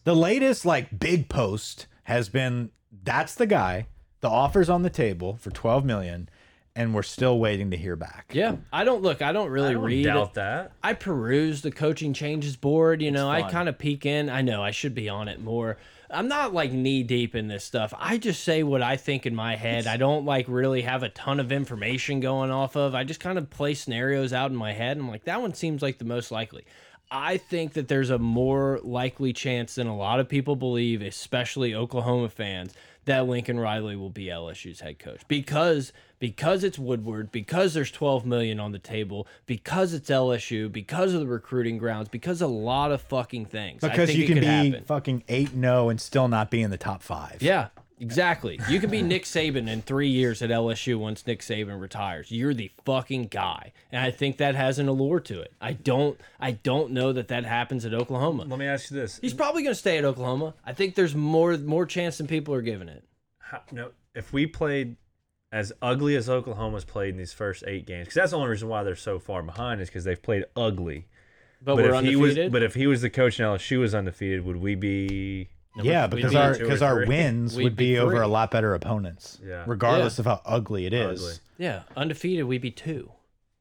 [SPEAKER 2] The latest like big post has been that's the guy. The offer's on the table for 12 million and we're still waiting to hear back.
[SPEAKER 1] Yeah, I don't look. I don't really
[SPEAKER 4] I don't
[SPEAKER 1] read.
[SPEAKER 4] doubt
[SPEAKER 1] it.
[SPEAKER 4] that.
[SPEAKER 1] I peruse the coaching changes board. You know, I kind of peek in. I know I should be on it more. I'm not like knee deep in this stuff. I just say what I think in my head. I don't like really have a ton of information going off of. I just kind of play scenarios out in my head. I'm like, that one seems like the most likely. I think that there's a more likely chance than a lot of people believe, especially Oklahoma fans, that Lincoln Riley will be LSU's head coach because because it's Woodward, because there's 12 million on the table, because it's LSU, because of the recruiting grounds, because a lot of fucking things. I
[SPEAKER 2] Because
[SPEAKER 1] think
[SPEAKER 2] you
[SPEAKER 1] it
[SPEAKER 2] can
[SPEAKER 1] could
[SPEAKER 2] be
[SPEAKER 1] happen.
[SPEAKER 2] fucking 8 0 and still not be in the top five.
[SPEAKER 1] Yeah, exactly. You could be Nick Saban in three years at LSU once Nick Saban retires. You're the fucking guy, and I think that has an allure to it. I don't, I don't know that that happens at Oklahoma.
[SPEAKER 4] Let me ask you this:
[SPEAKER 1] He's probably going to stay at Oklahoma. I think there's more more chance than people are giving it.
[SPEAKER 4] How, no, if we played as ugly as Oklahoma's played in these first eight games, because that's the only reason why they're so far behind is because they've played ugly.
[SPEAKER 1] But,
[SPEAKER 4] if
[SPEAKER 1] we're undefeated.
[SPEAKER 4] he was, but if he was the coach and LSU was undefeated, would we be?
[SPEAKER 1] Number-
[SPEAKER 2] Yeah,
[SPEAKER 1] we'd
[SPEAKER 2] because
[SPEAKER 1] be
[SPEAKER 2] our
[SPEAKER 4] two or
[SPEAKER 2] because our
[SPEAKER 4] three.
[SPEAKER 2] wins
[SPEAKER 1] We'd
[SPEAKER 2] would
[SPEAKER 1] be
[SPEAKER 2] be over
[SPEAKER 1] three.
[SPEAKER 2] a lot better opponents,
[SPEAKER 4] Yeah.
[SPEAKER 2] regardless
[SPEAKER 1] Yeah.
[SPEAKER 2] of how ugly it is.
[SPEAKER 4] Ugly.
[SPEAKER 1] yeah undefeated, we'd be two.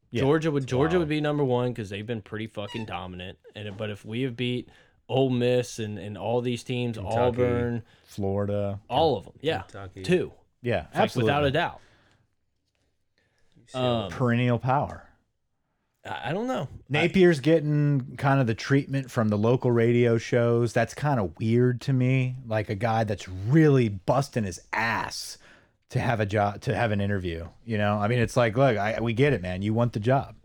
[SPEAKER 2] Yeah,
[SPEAKER 1] Georgia would Georgia would be number one because they've been pretty fucking dominant. And but if we have beat Ole Miss and, and all these teams, Auburn,
[SPEAKER 2] Florida,
[SPEAKER 1] all of them, yeah,
[SPEAKER 4] Kentucky.
[SPEAKER 1] two,
[SPEAKER 2] yeah,
[SPEAKER 1] Like,
[SPEAKER 2] absolutely,
[SPEAKER 1] without a doubt. Um,
[SPEAKER 2] perennial power.
[SPEAKER 1] I I don't know.
[SPEAKER 2] Napier's getting kind of the treatment from the local radio shows. That's kind of weird to me. Like a guy that's really busting his ass to have a job, to have an interview. You know, I mean, it's like, look, I, we get it, man. You want the job.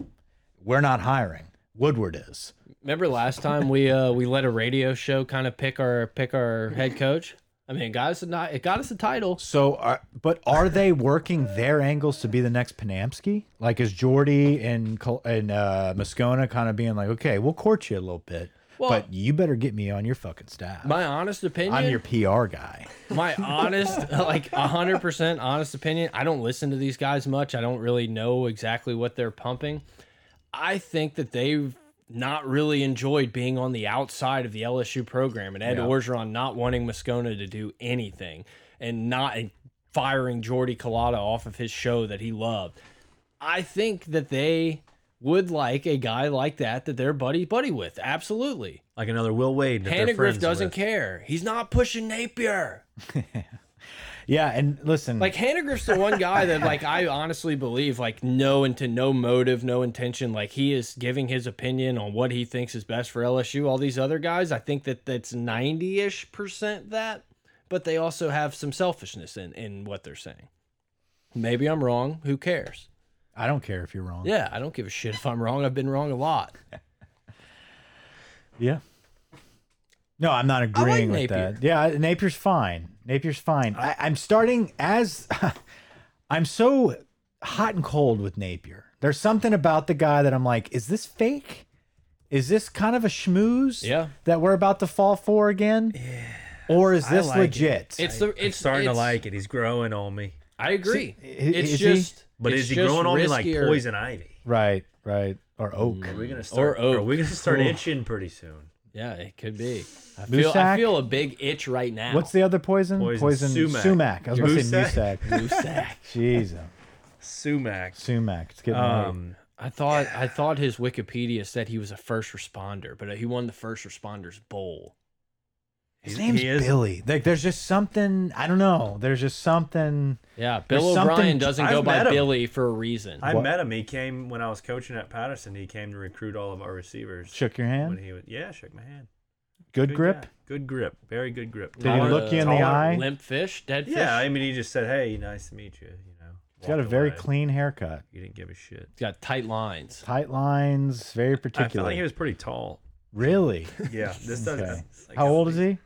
[SPEAKER 2] We're not hiring. Woodward is.
[SPEAKER 1] Remember last time we uh we let a radio show kind of pick our pick our head coach. I mean, it got us a ni- it got us a title.
[SPEAKER 2] So, are, but are they working their angles to be the next Panamsky? Like, is Jordy and Col- and uh, Moscona kind of being like, okay, we'll court you a little bit,
[SPEAKER 1] Well-
[SPEAKER 2] but you better get me on your fucking staff.
[SPEAKER 1] My honest opinion.
[SPEAKER 2] I'm your PR guy.
[SPEAKER 1] my honest like 100% honest opinion i don't listen to these guys much i don't really know exactly what they're pumping i think that they've not really enjoyed being on the outside of the lsu program and ed orgeron not wanting moscona to do anything and not and firing Jordy Collada off of his show that he loved. I think that they would like a guy like that that they're buddy buddy with. Absolutely.
[SPEAKER 4] Like another Will Wade. that they're friends
[SPEAKER 1] Hannegriff doesn't
[SPEAKER 4] with.
[SPEAKER 1] care. He's not pushing Napier.
[SPEAKER 2] Yeah, and listen,
[SPEAKER 1] Like Hannegriff's the one guy that like I honestly believe like no into no motive, no intention. Like he is giving his opinion on what he thinks is best for LSU. All these other guys, I think that that's ninety ish percent that, but they also have some selfishness in in what they're saying. Maybe I'm wrong. Who cares?
[SPEAKER 2] I don't care if you're wrong.
[SPEAKER 1] Yeah, I don't give a shit if I'm wrong. I've been wrong a lot.
[SPEAKER 2] Yeah. No, I'm not agreeing with
[SPEAKER 1] Napier.
[SPEAKER 2] that. Yeah, Napier's fine. Napier's fine. I, I'm starting as I'm so hot and cold with Napier. There's something about the guy that I'm like, is this fake? Is this kind of a schmooze
[SPEAKER 1] Yeah.
[SPEAKER 2] that we're about to fall for again? Or is this
[SPEAKER 4] like it.
[SPEAKER 2] legit?
[SPEAKER 1] It's the it's
[SPEAKER 4] I'm starting to
[SPEAKER 1] it's-
[SPEAKER 4] like it. He's growing on me.
[SPEAKER 1] I agree. it's
[SPEAKER 2] is he?
[SPEAKER 1] just
[SPEAKER 4] But
[SPEAKER 1] it's
[SPEAKER 4] is he
[SPEAKER 1] just
[SPEAKER 4] growing on me like
[SPEAKER 1] riskier.
[SPEAKER 4] poison ivy?
[SPEAKER 2] Right, right. Or oak.
[SPEAKER 4] Are we gonna start?
[SPEAKER 1] oak.
[SPEAKER 4] Are we gonna start itching pretty soon?
[SPEAKER 1] Yeah, it could be. I
[SPEAKER 2] Moose
[SPEAKER 1] feel I
[SPEAKER 2] sack?
[SPEAKER 1] feel a big itch right now.
[SPEAKER 2] What's the other poison?
[SPEAKER 4] Poison sumac.
[SPEAKER 2] I was going to say
[SPEAKER 4] Musak?
[SPEAKER 2] musak.
[SPEAKER 1] Musak.
[SPEAKER 2] Jesus.
[SPEAKER 4] Sumac.
[SPEAKER 2] Sumac. It's getting
[SPEAKER 1] Uh,
[SPEAKER 2] late.
[SPEAKER 4] Um,
[SPEAKER 1] I thought I thought his Wikipedia said he was a first responder, but he won the first responders bowl.
[SPEAKER 2] His
[SPEAKER 4] he-
[SPEAKER 2] name's
[SPEAKER 4] he is-
[SPEAKER 2] Billy. Like, there's just something. I don't know. There's just something.
[SPEAKER 1] Yeah,
[SPEAKER 2] There's
[SPEAKER 1] Bill
[SPEAKER 2] something-
[SPEAKER 1] O'Brien doesn't go
[SPEAKER 4] I've
[SPEAKER 1] by
[SPEAKER 4] met him.
[SPEAKER 1] Billy for a reason.
[SPEAKER 4] I
[SPEAKER 2] What?
[SPEAKER 4] met him. He came when I was coaching at Patterson. He came to recruit all of our receivers.
[SPEAKER 2] Shook your
[SPEAKER 4] When
[SPEAKER 2] hand.
[SPEAKER 4] he was, yeah, shook my hand.
[SPEAKER 2] Good grip.
[SPEAKER 4] guy. Good grip. Very good grip.
[SPEAKER 2] Did he
[SPEAKER 1] Taller-
[SPEAKER 2] look you in the
[SPEAKER 1] taller,
[SPEAKER 2] eye?
[SPEAKER 1] Limp fish, dead fish.
[SPEAKER 4] Yeah, I mean, he just said, "Hey, nice to meet you." You know,
[SPEAKER 2] He's got a
[SPEAKER 4] walked
[SPEAKER 2] very
[SPEAKER 4] away.
[SPEAKER 2] clean haircut.
[SPEAKER 4] He didn't give a shit.
[SPEAKER 1] He's got tight lines.
[SPEAKER 2] Tight lines. Very
[SPEAKER 4] I felt
[SPEAKER 2] particular.
[SPEAKER 4] like he was pretty tall.
[SPEAKER 2] really.
[SPEAKER 4] Yeah, this does.
[SPEAKER 2] Okay.
[SPEAKER 4] it's like-
[SPEAKER 2] How old is he?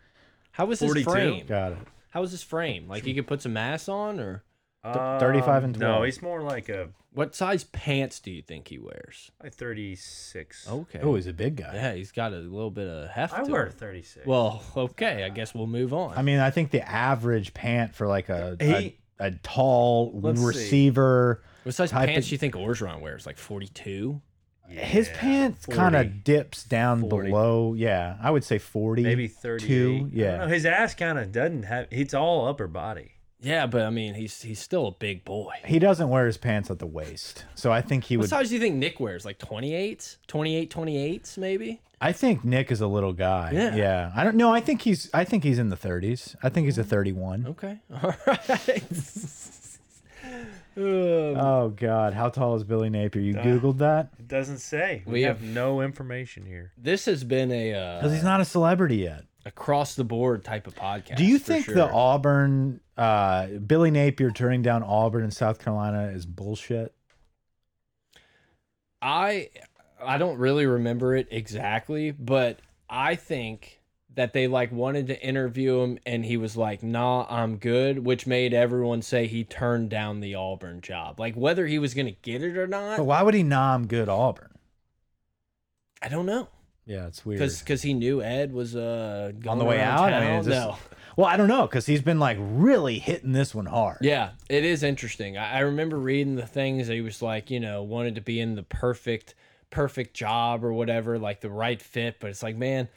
[SPEAKER 1] How was his
[SPEAKER 4] 42?
[SPEAKER 1] frame?
[SPEAKER 2] Got it.
[SPEAKER 1] How was his frame? Like he could put some mass on, or
[SPEAKER 4] Um,
[SPEAKER 2] 35 and
[SPEAKER 4] No,
[SPEAKER 2] 12.
[SPEAKER 4] he's more like a
[SPEAKER 1] what size pants do you think he wears?
[SPEAKER 4] like 36.
[SPEAKER 1] Okay.
[SPEAKER 2] Oh, he's a big guy.
[SPEAKER 1] yeah, he's got a little bit of heft.
[SPEAKER 4] I
[SPEAKER 1] to
[SPEAKER 4] wear
[SPEAKER 1] him.
[SPEAKER 4] 36.
[SPEAKER 1] Well, okay. I guess we'll move on.
[SPEAKER 2] I mean, I think the average pant for like a
[SPEAKER 4] He-
[SPEAKER 2] a, a tall
[SPEAKER 4] Let's see.
[SPEAKER 2] receiver.
[SPEAKER 1] What size
[SPEAKER 2] type
[SPEAKER 1] pants
[SPEAKER 2] of-
[SPEAKER 1] do you think Orgeron wears? Like 42?
[SPEAKER 2] His
[SPEAKER 4] Yeah,
[SPEAKER 2] pants
[SPEAKER 4] 40,
[SPEAKER 2] kind of dips down
[SPEAKER 4] 40.
[SPEAKER 2] below. Yeah, I would say forty.
[SPEAKER 4] maybe
[SPEAKER 2] Two.
[SPEAKER 4] 32.
[SPEAKER 2] Yeah.
[SPEAKER 4] His ass kind of doesn't have. He's all upper body.
[SPEAKER 1] Yeah, but I mean, he's he's still a big boy.
[SPEAKER 2] He doesn't wear his pants at the waist, so I think he
[SPEAKER 1] What
[SPEAKER 2] would.
[SPEAKER 1] size do you think Nick wears? Like 28s? 28, 28s, maybe?
[SPEAKER 2] I think Nick is a little guy.
[SPEAKER 1] Yeah.
[SPEAKER 2] I don't know. I think he's. I think he's in the 30s. I think he's a 31.
[SPEAKER 1] Okay. All right. Um,
[SPEAKER 2] Oh God, how tall is Billy Napier? You
[SPEAKER 1] Uh,
[SPEAKER 2] googled that
[SPEAKER 4] It doesn't say. We,
[SPEAKER 1] We
[SPEAKER 4] have
[SPEAKER 1] have-
[SPEAKER 4] no information here.
[SPEAKER 1] this has been a
[SPEAKER 2] because
[SPEAKER 1] uh,
[SPEAKER 2] he's not a celebrity yet.
[SPEAKER 1] across the board type of podcast.
[SPEAKER 2] Do you
[SPEAKER 1] for
[SPEAKER 2] think the
[SPEAKER 1] sure.
[SPEAKER 2] Auburn, uh, Billy Napier turning down Auburn in South Carolina is bullshit?
[SPEAKER 1] I I don't really remember it exactly, but I think that they like wanted to interview him and he was like, "Nah, I'm good," which made everyone say he turned down the Auburn job. Like whether he was going to get it or
[SPEAKER 2] But
[SPEAKER 1] not,
[SPEAKER 2] why would he nom good Auburn?
[SPEAKER 1] I don't know.
[SPEAKER 2] Yeah, it's weird.
[SPEAKER 1] Cuz cuz he knew Ed was uh going
[SPEAKER 2] on the way
[SPEAKER 1] around
[SPEAKER 2] out, I mean,
[SPEAKER 1] town.
[SPEAKER 2] it's just,
[SPEAKER 1] no.
[SPEAKER 2] well, I don't know because he's been like really hitting this one hard.
[SPEAKER 1] Yeah, it is interesting. I, I remember reading the things that he was like, you know, wanted to be in the perfect, perfect job or whatever, like the right fit. But it's like, man,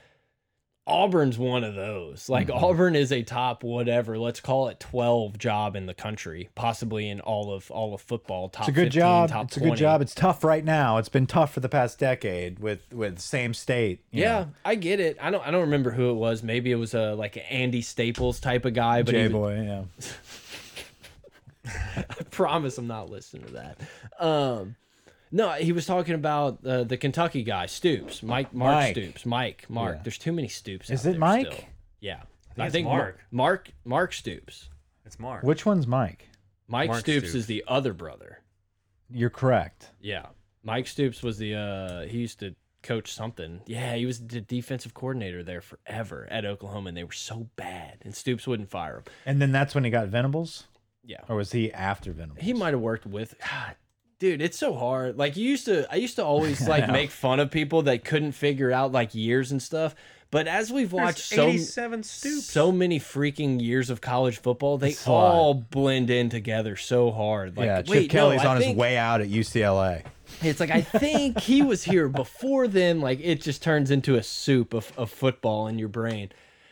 [SPEAKER 1] Auburn's one of those. Like
[SPEAKER 2] Mm-hmm.
[SPEAKER 1] Auburn is a top whatever. Let's call it twelve job in the country, possibly in all of all of football. Top
[SPEAKER 2] It's a good
[SPEAKER 1] 15,
[SPEAKER 2] job.
[SPEAKER 1] Top
[SPEAKER 2] It's a
[SPEAKER 1] 20.
[SPEAKER 2] good job. It's tough right now. It's been tough for the past decade with with same state. you
[SPEAKER 1] Yeah,
[SPEAKER 2] know.
[SPEAKER 1] I get it. I don't. I don't remember who it was. Maybe it was a like an Andy Staples type of guy. But he
[SPEAKER 2] J
[SPEAKER 1] was-
[SPEAKER 2] boy. Yeah.
[SPEAKER 1] promise I'm not listening to that. Um, no, he was talking about uh, the Kentucky guy, Stoops, Mike, Mark
[SPEAKER 2] Mike.
[SPEAKER 1] Stoops, Mike, Mark.
[SPEAKER 2] Yeah.
[SPEAKER 1] There's too many Stoops.
[SPEAKER 2] Is
[SPEAKER 1] out
[SPEAKER 2] it
[SPEAKER 1] there
[SPEAKER 2] Mike?
[SPEAKER 1] Still. Yeah, I
[SPEAKER 4] it's
[SPEAKER 1] Mar-
[SPEAKER 4] Mark.
[SPEAKER 1] Mark, Mark Stoops.
[SPEAKER 4] It's Mark.
[SPEAKER 2] Which one's Mike?
[SPEAKER 1] Mike
[SPEAKER 4] Mark
[SPEAKER 1] Stoops,
[SPEAKER 4] Stoops.
[SPEAKER 1] is the other brother.
[SPEAKER 2] You're correct.
[SPEAKER 1] Yeah, Mike Stoops was the uh, he used to coach something. Yeah, he was the defensive coordinator there forever at Oklahoma, and they were so bad, and Stoops wouldn't fire him.
[SPEAKER 2] And then that's when he got Venables,
[SPEAKER 1] Yeah,
[SPEAKER 2] or was he after Venables?
[SPEAKER 1] He might have worked with God, dude, it's so hard. Like you used to I used to always like make fone of people that couldn't figure out like years and stuff. But as we've
[SPEAKER 4] There's
[SPEAKER 1] watched so
[SPEAKER 4] 87 stoops.
[SPEAKER 1] so many freaking years of college football, they
[SPEAKER 2] It's a lot.
[SPEAKER 1] all blend in together so hard. Like
[SPEAKER 2] yeah,
[SPEAKER 1] wait,
[SPEAKER 2] Chip Kelly's
[SPEAKER 1] no, I
[SPEAKER 2] on
[SPEAKER 1] think-
[SPEAKER 2] his way out at UCLA.
[SPEAKER 1] It's like I think he was here before then. Like it just turns into a soup of, of football in your brain.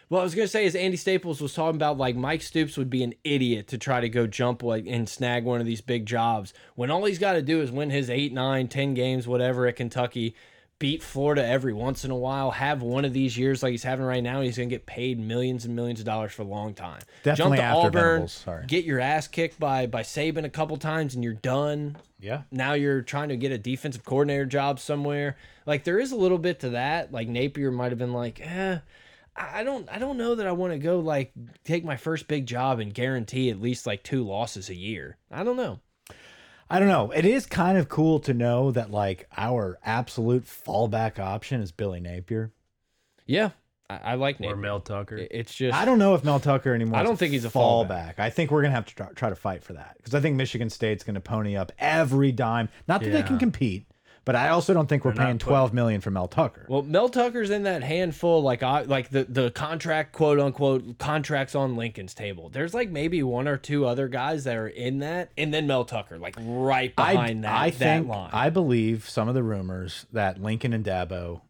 [SPEAKER 1] Well, I was gonna say is Andy Staples was talking about like Mike Stoops would be an idiot to try to go jump like and snag one of these big jobs when all he's got to do is win his eight, nine, ten games, whatever at Kentucky, beat Florida every once in a while, have one of these years like he's having right now, and he's gonna get paid millions and millions of dollars for a long time.
[SPEAKER 2] Definitely
[SPEAKER 1] jump to
[SPEAKER 2] after
[SPEAKER 1] Auburn,
[SPEAKER 2] Venables, sorry.
[SPEAKER 1] get your ass kicked by by Saban a couple times, and you're done
[SPEAKER 2] Yeah.
[SPEAKER 1] now you're trying to get a defensive coordinator job somewhere. Like there is a little bit to that. Like Napier might have been like, eh, I I don't I don't know that I want to go like take my first big job and guarantee at least like two losses a year. I don't know.
[SPEAKER 2] I don't know. It is kind of cool to know that like our absolute fallback option is Billy Napier.
[SPEAKER 1] Yeah. I, I like
[SPEAKER 4] Or
[SPEAKER 1] Napier.
[SPEAKER 4] Mel Tucker.
[SPEAKER 1] It- It's just
[SPEAKER 2] I don't know if Mel Tucker anymore.
[SPEAKER 1] I
[SPEAKER 2] is
[SPEAKER 1] don't think he's a
[SPEAKER 2] fallback. I think we're gonna have to try, try to fight for that because I think Michigan State's gonna pony up every dime. Not that they can
[SPEAKER 4] Yeah.
[SPEAKER 2] compete, but I also don't think we're
[SPEAKER 4] They're not
[SPEAKER 2] paying
[SPEAKER 4] putting-
[SPEAKER 2] twelve million for Mel Tucker.
[SPEAKER 1] Well, Mel Tucker's in that handful, like I like the the contract, quote unquote, contracts on Lincoln's table. There's like maybe one or two other guys that are in that, and then Mel Tucker, like right behind that,
[SPEAKER 2] I
[SPEAKER 1] that
[SPEAKER 2] think
[SPEAKER 1] line.
[SPEAKER 2] I believe some of the rumors that Lincoln and Dabo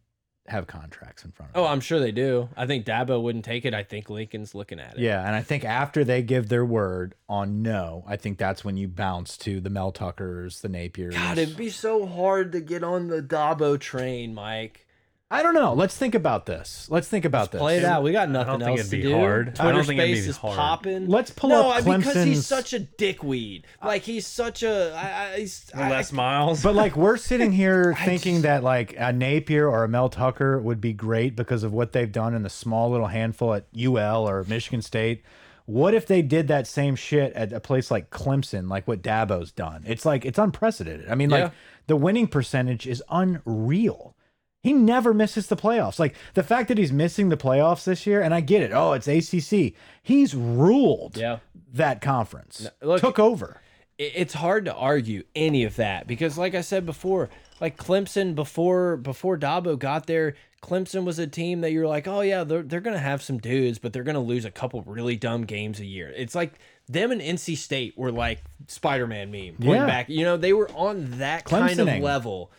[SPEAKER 2] have contracts in front of.
[SPEAKER 1] Oh,
[SPEAKER 2] them.
[SPEAKER 1] I'm sure they do. I think Dabo wouldn't take it. I think Lincoln's looking at it.
[SPEAKER 2] Yeah, and I think after they give their word on no, I think that's when you bounce to the Mel Tuckers, the Napiers.
[SPEAKER 1] God, it'd be so hard to get on the Dabo train, Mike.
[SPEAKER 2] I don't know. Let's think about this. Let's think about this.
[SPEAKER 1] Play it out. We got
[SPEAKER 4] don't
[SPEAKER 1] nothing
[SPEAKER 4] think
[SPEAKER 1] else
[SPEAKER 4] it'd
[SPEAKER 1] to
[SPEAKER 4] be
[SPEAKER 1] do.
[SPEAKER 4] hard. I
[SPEAKER 1] Twitter
[SPEAKER 4] don't think it'd
[SPEAKER 1] Space
[SPEAKER 4] be
[SPEAKER 1] is
[SPEAKER 4] hard.
[SPEAKER 1] popping.
[SPEAKER 2] Let's pull
[SPEAKER 1] no,
[SPEAKER 2] up
[SPEAKER 1] I- because he's
[SPEAKER 2] Clemson's-
[SPEAKER 1] such a dickweed. Like he's such a. I, I, he's, I-
[SPEAKER 4] Les Miles.
[SPEAKER 2] But like we're sitting here thinking that like a Napier or a Mel Tucker would be great because of what they've done in the small little handful at UL or Michigan State. What if they did that same shit at a place like Clemson, like what Dabo's done? It's like it's unprecedented. I mean,
[SPEAKER 1] Yeah.
[SPEAKER 2] like the winning percentage is unreal. He never misses the playoffs. Like the fact that he's missing the playoffs this year, and I get it. Oh, it's ACC. He's ruled
[SPEAKER 1] Yeah.
[SPEAKER 2] that conference.
[SPEAKER 1] look-
[SPEAKER 2] Took over.
[SPEAKER 1] it- it's hard to argue any of that because like I said before, like Clemson before before Dabo got there, Clemson was a team that you're like, oh yeah, they're they're gonna have some dudes, but they're gonna lose a couple really dumb games a year. It's like them and NC State were like Spider Man meme going
[SPEAKER 2] Yeah.
[SPEAKER 1] back. You know, they were on that kind of
[SPEAKER 2] Clemsoning.
[SPEAKER 1] level.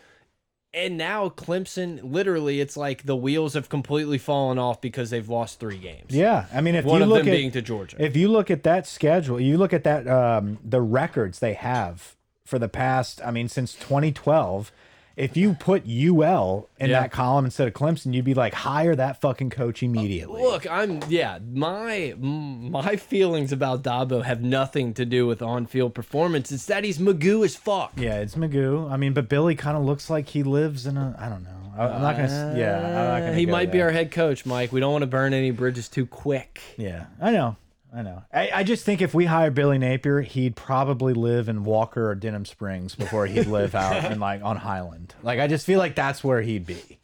[SPEAKER 1] And now Clemson, literally, it's like the wheels have completely fallen off because they've lost three games.
[SPEAKER 2] Yeah, I mean, if
[SPEAKER 1] One
[SPEAKER 2] you
[SPEAKER 1] of
[SPEAKER 2] look
[SPEAKER 1] them
[SPEAKER 2] at
[SPEAKER 1] being to Georgia.
[SPEAKER 2] if you look at that schedule, you look at that um, the records they have for the past. I mean, since 2012, if you put UL in
[SPEAKER 1] Yeah.
[SPEAKER 2] that column instead of Clemson, you'd be like, hire that fucking coach immediately.
[SPEAKER 1] Look, I'm yeah. My m- my feelings about Dabo have nothing to do with on-field performance. It's that he's Magoo as fuck.
[SPEAKER 2] yeah, it's Magoo. I mean, but Billy kind of looks like he lives in a. I don't know. I, I'm not gonna. s yeah, I'm not gonna.
[SPEAKER 1] Uh, he
[SPEAKER 2] go
[SPEAKER 1] might be
[SPEAKER 2] there.
[SPEAKER 1] our head coach, Mike. We don't want to burn any bridges too quick.
[SPEAKER 2] Yeah, I know. I know. I, I just think if we hire Billy Napier, he'd probably live in Walker or Denham Springs before he'd live out in like on Highland. Like I just feel like that's where he'd be.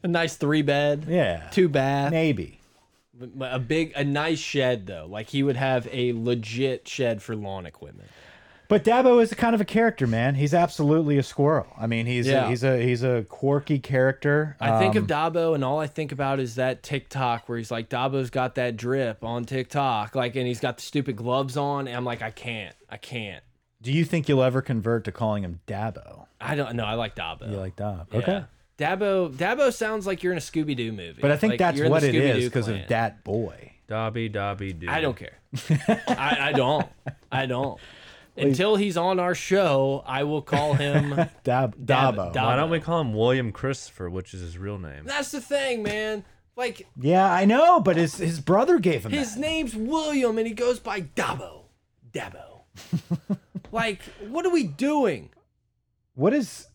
[SPEAKER 1] A nice three bed,
[SPEAKER 2] Yeah.
[SPEAKER 1] two bath,
[SPEAKER 2] Maybe.
[SPEAKER 1] a big, a nice shed though. Like he would have a legit shed for lawn equipment.
[SPEAKER 2] But Dabo is a kind of a character, man. He's absolutely a squirrel. I mean, he's
[SPEAKER 1] Yeah.
[SPEAKER 2] a, he's a he's a quirky character.
[SPEAKER 1] I think
[SPEAKER 2] Um,
[SPEAKER 1] of Dabo, and all I think about is that TikTok where he's like, Dabo's got that drip on TikTok, like, and he's got the stupid gloves on, and I'm like, I can't, I can't.
[SPEAKER 2] Do you think you'll ever convert to calling him Dabo?
[SPEAKER 1] I don't know. I like Dabo.
[SPEAKER 2] You like Dabo? Okay.
[SPEAKER 1] Yeah. Dabo Dabo sounds like you're in a Scooby Doo movie.
[SPEAKER 2] But I think
[SPEAKER 1] Like,
[SPEAKER 2] that's
[SPEAKER 1] you're in the
[SPEAKER 2] what it is
[SPEAKER 1] Scooby-Doo
[SPEAKER 2] because of
[SPEAKER 1] clan.
[SPEAKER 2] that boy.
[SPEAKER 4] Dobby, Dobby, dude.
[SPEAKER 1] I don't care. I, I don't. I don't. Until he's on our show, I will call him.
[SPEAKER 2] Dab Dabo.
[SPEAKER 1] Dab-
[SPEAKER 4] Why don't we call him William Christopher, which is his real name?
[SPEAKER 1] That's the thing, man. Like
[SPEAKER 2] Yeah, I know, but his his brother gave him
[SPEAKER 1] his
[SPEAKER 2] that.
[SPEAKER 1] name's William, and he goes by Dabo. Dabo. like, what are we doing?
[SPEAKER 2] What is?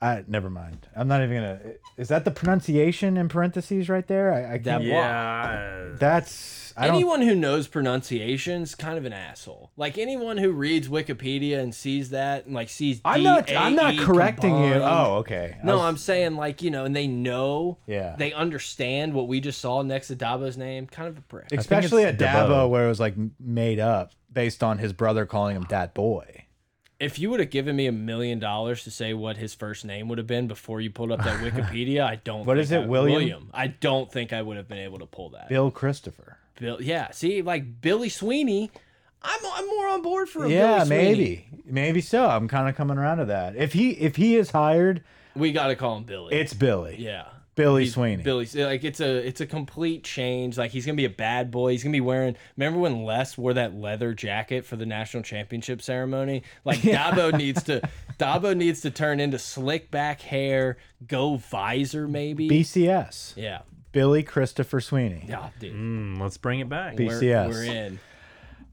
[SPEAKER 2] I never mind. I'm not even gonna. Is that the pronunciation in parentheses right there? I, I can't.
[SPEAKER 1] Dabo.
[SPEAKER 4] Yeah.
[SPEAKER 2] That's. I don't.
[SPEAKER 1] anyone who knows pronunciation's kind of an asshole. Like anyone who reads Wikipedia and sees that and like sees E
[SPEAKER 2] I'm not. I'm not
[SPEAKER 1] DAE
[SPEAKER 2] correcting you.
[SPEAKER 1] combined.
[SPEAKER 2] Oh, okay. I
[SPEAKER 1] No,
[SPEAKER 2] was-
[SPEAKER 1] I'm saying like you know, and they know.
[SPEAKER 2] Yeah.
[SPEAKER 1] They understand what we just saw next to Dabo's name. Kind of a prick.
[SPEAKER 2] Especially
[SPEAKER 4] it's
[SPEAKER 2] at Dabo,
[SPEAKER 4] Dabo.
[SPEAKER 2] where it was like made up based on his brother calling him that boy.
[SPEAKER 1] If you would have given me a million dollars to say what his first name would have been before you pulled up that Wikipedia, I don't.
[SPEAKER 2] What
[SPEAKER 1] think
[SPEAKER 2] is it,
[SPEAKER 1] I-
[SPEAKER 2] William?
[SPEAKER 1] I don't think I would have been able to pull that.
[SPEAKER 2] Bill Christopher.
[SPEAKER 1] Bill, yeah. See, like Billy Sweeney, I'm I'm more on board for a
[SPEAKER 2] Yeah,
[SPEAKER 1] Oh, Billy Sweeney.
[SPEAKER 2] maybe, maybe so. I'm kind of coming around to that. If he if he is hired,
[SPEAKER 1] we got to call him Billy.
[SPEAKER 2] it's Billy.
[SPEAKER 1] yeah.
[SPEAKER 2] Billy
[SPEAKER 1] He's
[SPEAKER 2] Sweeney.
[SPEAKER 1] Billy, like it's a it's a complete change. Like he's gonna be a bad boy. He's gonna be wearing. Remember when Les wore that leather jacket for the national championship ceremony? Like Dabo needs to Dabo needs to turn into slick back hair, go visor maybe.
[SPEAKER 2] BCS.
[SPEAKER 1] yeah,
[SPEAKER 2] Billy Christopher Sweeney.
[SPEAKER 1] yeah, dude.
[SPEAKER 4] Mm, let's bring it back.
[SPEAKER 2] Be-
[SPEAKER 1] We're,
[SPEAKER 2] BCS.
[SPEAKER 1] we're in.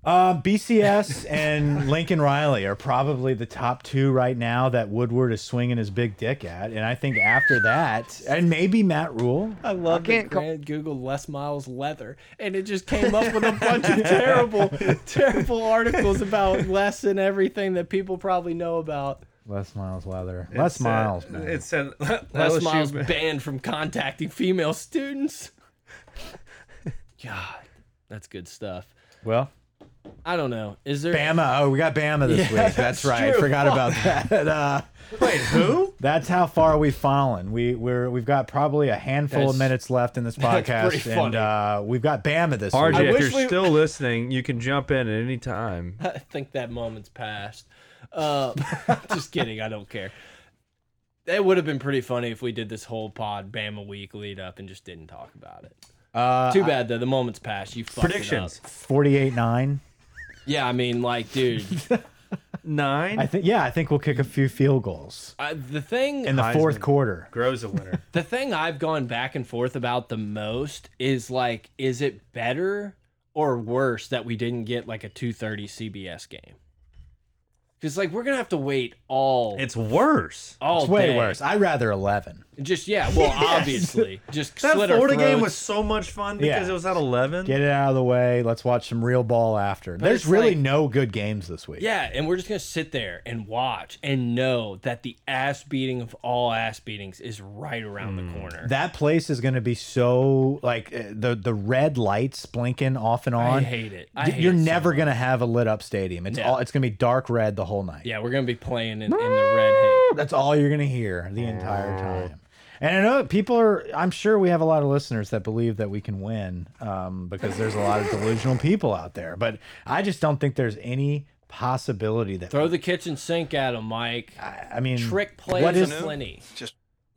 [SPEAKER 2] Uh, BCS and Lincoln Riley are probably the top two right now that Woodward is swinging his big dick at, and I think after that, and maybe Matt Rule.
[SPEAKER 1] I love that
[SPEAKER 5] can't call-
[SPEAKER 1] Grant Google Les Miles leather, and it just came up with a bunch of terrible, terrible articles about Les and everything that people probably know about.
[SPEAKER 2] Les Miles Leather. Les uh, Miles. man.
[SPEAKER 4] It said
[SPEAKER 1] Les
[SPEAKER 4] LSU
[SPEAKER 1] Miles banned from contacting female students. God, that's good stuff.
[SPEAKER 2] well,
[SPEAKER 1] I don't know. Is there?
[SPEAKER 2] Bama. Oh, we got Bama this week. That's,
[SPEAKER 1] that's
[SPEAKER 2] right.
[SPEAKER 1] true.
[SPEAKER 2] Forgot about that. Uh,
[SPEAKER 4] Wait, who?
[SPEAKER 2] that's how far we've fallen. We we're we've got probably a handful
[SPEAKER 1] That's-
[SPEAKER 2] of minutes left in this
[SPEAKER 1] that's pretty
[SPEAKER 2] podcast, and
[SPEAKER 1] funny.
[SPEAKER 2] uh, we've got Bama this
[SPEAKER 4] RJ,
[SPEAKER 1] wish
[SPEAKER 2] week.
[SPEAKER 4] if you're
[SPEAKER 1] we-
[SPEAKER 4] still listening, you can jump in at any time.
[SPEAKER 1] I think that moment's passed. Uh, just kidding. I don't care. It would have been pretty funny if we did this whole pod Bama week lead up and just didn't talk about it.
[SPEAKER 2] Uh,
[SPEAKER 1] Too bad though. The moment's passed. You fucked it up.
[SPEAKER 4] Predictions.
[SPEAKER 2] Forty-eight nine.
[SPEAKER 1] Yeah, I mean, like, dude,
[SPEAKER 4] Nine
[SPEAKER 2] I think. Yeah, I think we'll kick a few field goals
[SPEAKER 1] I, the thing
[SPEAKER 2] in the fourth quarter.
[SPEAKER 4] grows a winner.
[SPEAKER 1] the thing I've gone back and forth about the most is like, is it better or worse that we didn't get like a two thirty CBS game? Because like we're gonna have to wait all
[SPEAKER 4] it's worse.
[SPEAKER 1] all
[SPEAKER 2] It's way
[SPEAKER 1] day.
[SPEAKER 2] worse. I'd rather eleven.
[SPEAKER 1] Just yeah, well, obviously, just
[SPEAKER 4] That
[SPEAKER 1] slit our
[SPEAKER 4] Florida game was
[SPEAKER 1] throats.
[SPEAKER 4] so much fun because
[SPEAKER 2] Yeah.
[SPEAKER 4] it was at eleven.
[SPEAKER 2] Get it out of the way. Let's watch some real ball after. There's
[SPEAKER 1] it's
[SPEAKER 2] really
[SPEAKER 1] like-
[SPEAKER 2] no good games this week.
[SPEAKER 1] Yeah, and we're just gonna sit there and watch and know that the ass beating of all ass beatings is right around
[SPEAKER 4] Hmm.
[SPEAKER 1] the corner.
[SPEAKER 2] That place is going to be so like uh, the the red lights blinking off and on.
[SPEAKER 1] I hate it. I
[SPEAKER 2] Y-
[SPEAKER 1] hate
[SPEAKER 2] You're
[SPEAKER 1] it so
[SPEAKER 2] never going to have a lit up stadium. It's
[SPEAKER 1] No.
[SPEAKER 2] all it's going to be dark red the whole night.
[SPEAKER 1] Yeah, we're gonna be playing in, in the red hay.
[SPEAKER 2] That's all you're going to hear the entire time. And I know people are. I'm sure we have a lot of listeners that believe that we can win um, because there's a lot of delusional people out there. But I just don't think there's any possibility that
[SPEAKER 1] Throw the kitchen sink at him, Mike.
[SPEAKER 2] I, I mean
[SPEAKER 1] Trick plays
[SPEAKER 2] What is
[SPEAKER 1] plenty.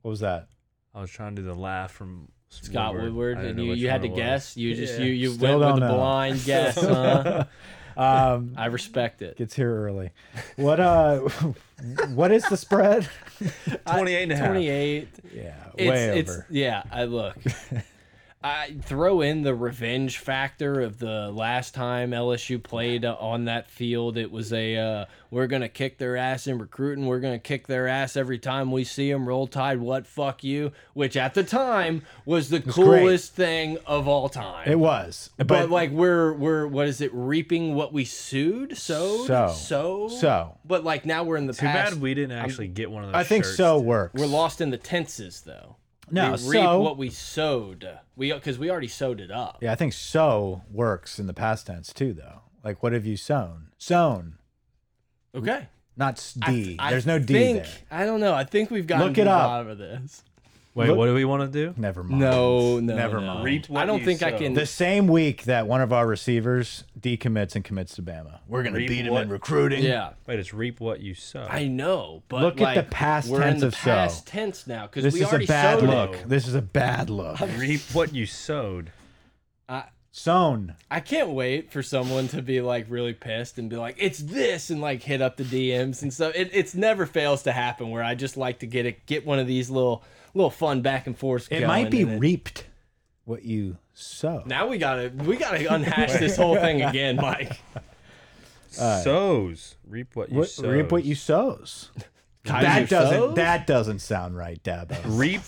[SPEAKER 2] what was that?
[SPEAKER 4] I was trying to do the laugh from
[SPEAKER 1] Scott Woodward,
[SPEAKER 4] I didn't
[SPEAKER 1] and
[SPEAKER 4] know
[SPEAKER 1] you,
[SPEAKER 4] which
[SPEAKER 1] you
[SPEAKER 4] one
[SPEAKER 1] had to
[SPEAKER 4] it was.
[SPEAKER 1] guess. You just you you
[SPEAKER 2] Still
[SPEAKER 1] went
[SPEAKER 2] don't
[SPEAKER 1] with a
[SPEAKER 2] know.
[SPEAKER 1] blind guess. Huh?
[SPEAKER 2] Um,
[SPEAKER 1] I respect it.
[SPEAKER 2] gets here early. What uh, what is the spread?
[SPEAKER 4] 28 and a half.
[SPEAKER 1] Twenty eight.
[SPEAKER 2] Yeah,
[SPEAKER 1] It's,
[SPEAKER 2] way
[SPEAKER 1] it's
[SPEAKER 2] over.
[SPEAKER 1] yeah. I look. I throw in the revenge factor of the last time LSU played uh, on that field. It was a uh, we're gonna kick their ass in recruiting. We're gonna kick their ass every time we see them. Roll Tide. What fuck you? Which at the time was the
[SPEAKER 2] great.
[SPEAKER 1] coolest thing of all time.
[SPEAKER 2] It was, but,
[SPEAKER 1] But, like
[SPEAKER 2] like
[SPEAKER 1] we're we're what is it reaping what we sowed sowed
[SPEAKER 2] So.
[SPEAKER 1] so
[SPEAKER 2] So.
[SPEAKER 1] but like now we're in the
[SPEAKER 4] Too
[SPEAKER 1] past
[SPEAKER 4] bad we didn't actually get one of those.
[SPEAKER 2] I think
[SPEAKER 4] shirts.
[SPEAKER 2] so works.
[SPEAKER 1] we're lost in the tenses though
[SPEAKER 2] No,
[SPEAKER 1] we reap
[SPEAKER 2] so-
[SPEAKER 1] what we sowed we because we already sowed it up
[SPEAKER 2] Yeah, I think so works in the past tense too, though. Like, what have you sown? Sown,
[SPEAKER 1] okay
[SPEAKER 2] not s- D.
[SPEAKER 1] I
[SPEAKER 2] There's no D
[SPEAKER 1] think,
[SPEAKER 2] there.
[SPEAKER 1] I don't know I think we've gotten
[SPEAKER 2] Look
[SPEAKER 1] to
[SPEAKER 2] it
[SPEAKER 1] the
[SPEAKER 2] up.
[SPEAKER 1] bottom of this
[SPEAKER 4] Wait,
[SPEAKER 2] Look-
[SPEAKER 4] what do we want to do?
[SPEAKER 2] Never mind.
[SPEAKER 1] no no
[SPEAKER 2] never
[SPEAKER 1] no.
[SPEAKER 2] mind.
[SPEAKER 4] Reap what
[SPEAKER 1] I don't
[SPEAKER 4] you
[SPEAKER 1] think I
[SPEAKER 4] sow.
[SPEAKER 1] can
[SPEAKER 2] The same week that one of our receivers decommits and commits to Bama, we're gonna
[SPEAKER 4] Reap
[SPEAKER 2] beat him
[SPEAKER 4] what-
[SPEAKER 2] in recruiting.
[SPEAKER 1] yeah
[SPEAKER 4] Wait, it's reap what you sow.
[SPEAKER 1] I know but
[SPEAKER 2] Look at
[SPEAKER 1] like,
[SPEAKER 2] the past
[SPEAKER 1] we're in
[SPEAKER 2] tense
[SPEAKER 1] the
[SPEAKER 2] of sow.
[SPEAKER 1] past tense now because
[SPEAKER 2] this
[SPEAKER 1] we
[SPEAKER 2] is a
[SPEAKER 1] already
[SPEAKER 2] bad
[SPEAKER 1] sowed
[SPEAKER 2] look.
[SPEAKER 1] it.
[SPEAKER 2] This is a bad look.
[SPEAKER 4] reap what you sowed.
[SPEAKER 1] I,
[SPEAKER 2] Sown.
[SPEAKER 1] I can't wait for someone to be like really pissed and be like, it's this, and like hit up the DMs and stuff. It it's never fails to happen where I just like to get it, get one of these little little fun back and forth.
[SPEAKER 2] It might be
[SPEAKER 1] real.
[SPEAKER 2] reaped what you sow.
[SPEAKER 1] now we gotta we gotta unhash this whole thing again, Mike.
[SPEAKER 4] Sows. Reap what you
[SPEAKER 2] Uh, What-
[SPEAKER 4] sow.
[SPEAKER 2] reap what you sows.
[SPEAKER 1] Kaiser
[SPEAKER 2] that doesn't
[SPEAKER 1] Soze?
[SPEAKER 2] that doesn't sound right, Dabo.
[SPEAKER 4] reap.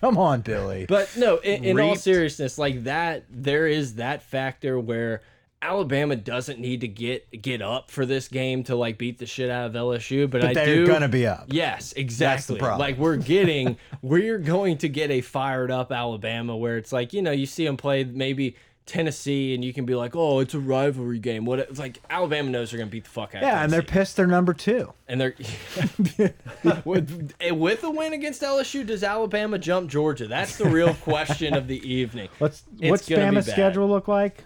[SPEAKER 2] Come on, Billy.
[SPEAKER 1] But no, in, in all
[SPEAKER 4] Reaped.
[SPEAKER 1] seriousness, like that, there is that factor where Alabama doesn't need to get get up for this game to like beat the shit out of LSU. But, I
[SPEAKER 2] But they're
[SPEAKER 1] do
[SPEAKER 2] gonna be up.
[SPEAKER 1] Yes,
[SPEAKER 2] the
[SPEAKER 1] exactly.
[SPEAKER 2] problem.
[SPEAKER 1] Like we're getting, we're going to get a fired up Alabama where it's like you know you see them play maybe Tennessee and you can be like, oh, it's a rivalry game. What it's like Alabama knows they're gonna beat the fuck out.
[SPEAKER 2] yeah,
[SPEAKER 1] of
[SPEAKER 2] and they're
[SPEAKER 1] Tennessee.
[SPEAKER 2] pissed they're number two.
[SPEAKER 1] and they're with eh, with a win against LSU, does Alabama jump Georgia? That's the real question of the evening.
[SPEAKER 2] Let's
[SPEAKER 1] It's
[SPEAKER 2] what's
[SPEAKER 1] gonna be
[SPEAKER 2] Bama's
[SPEAKER 1] bad.
[SPEAKER 2] schedule look like?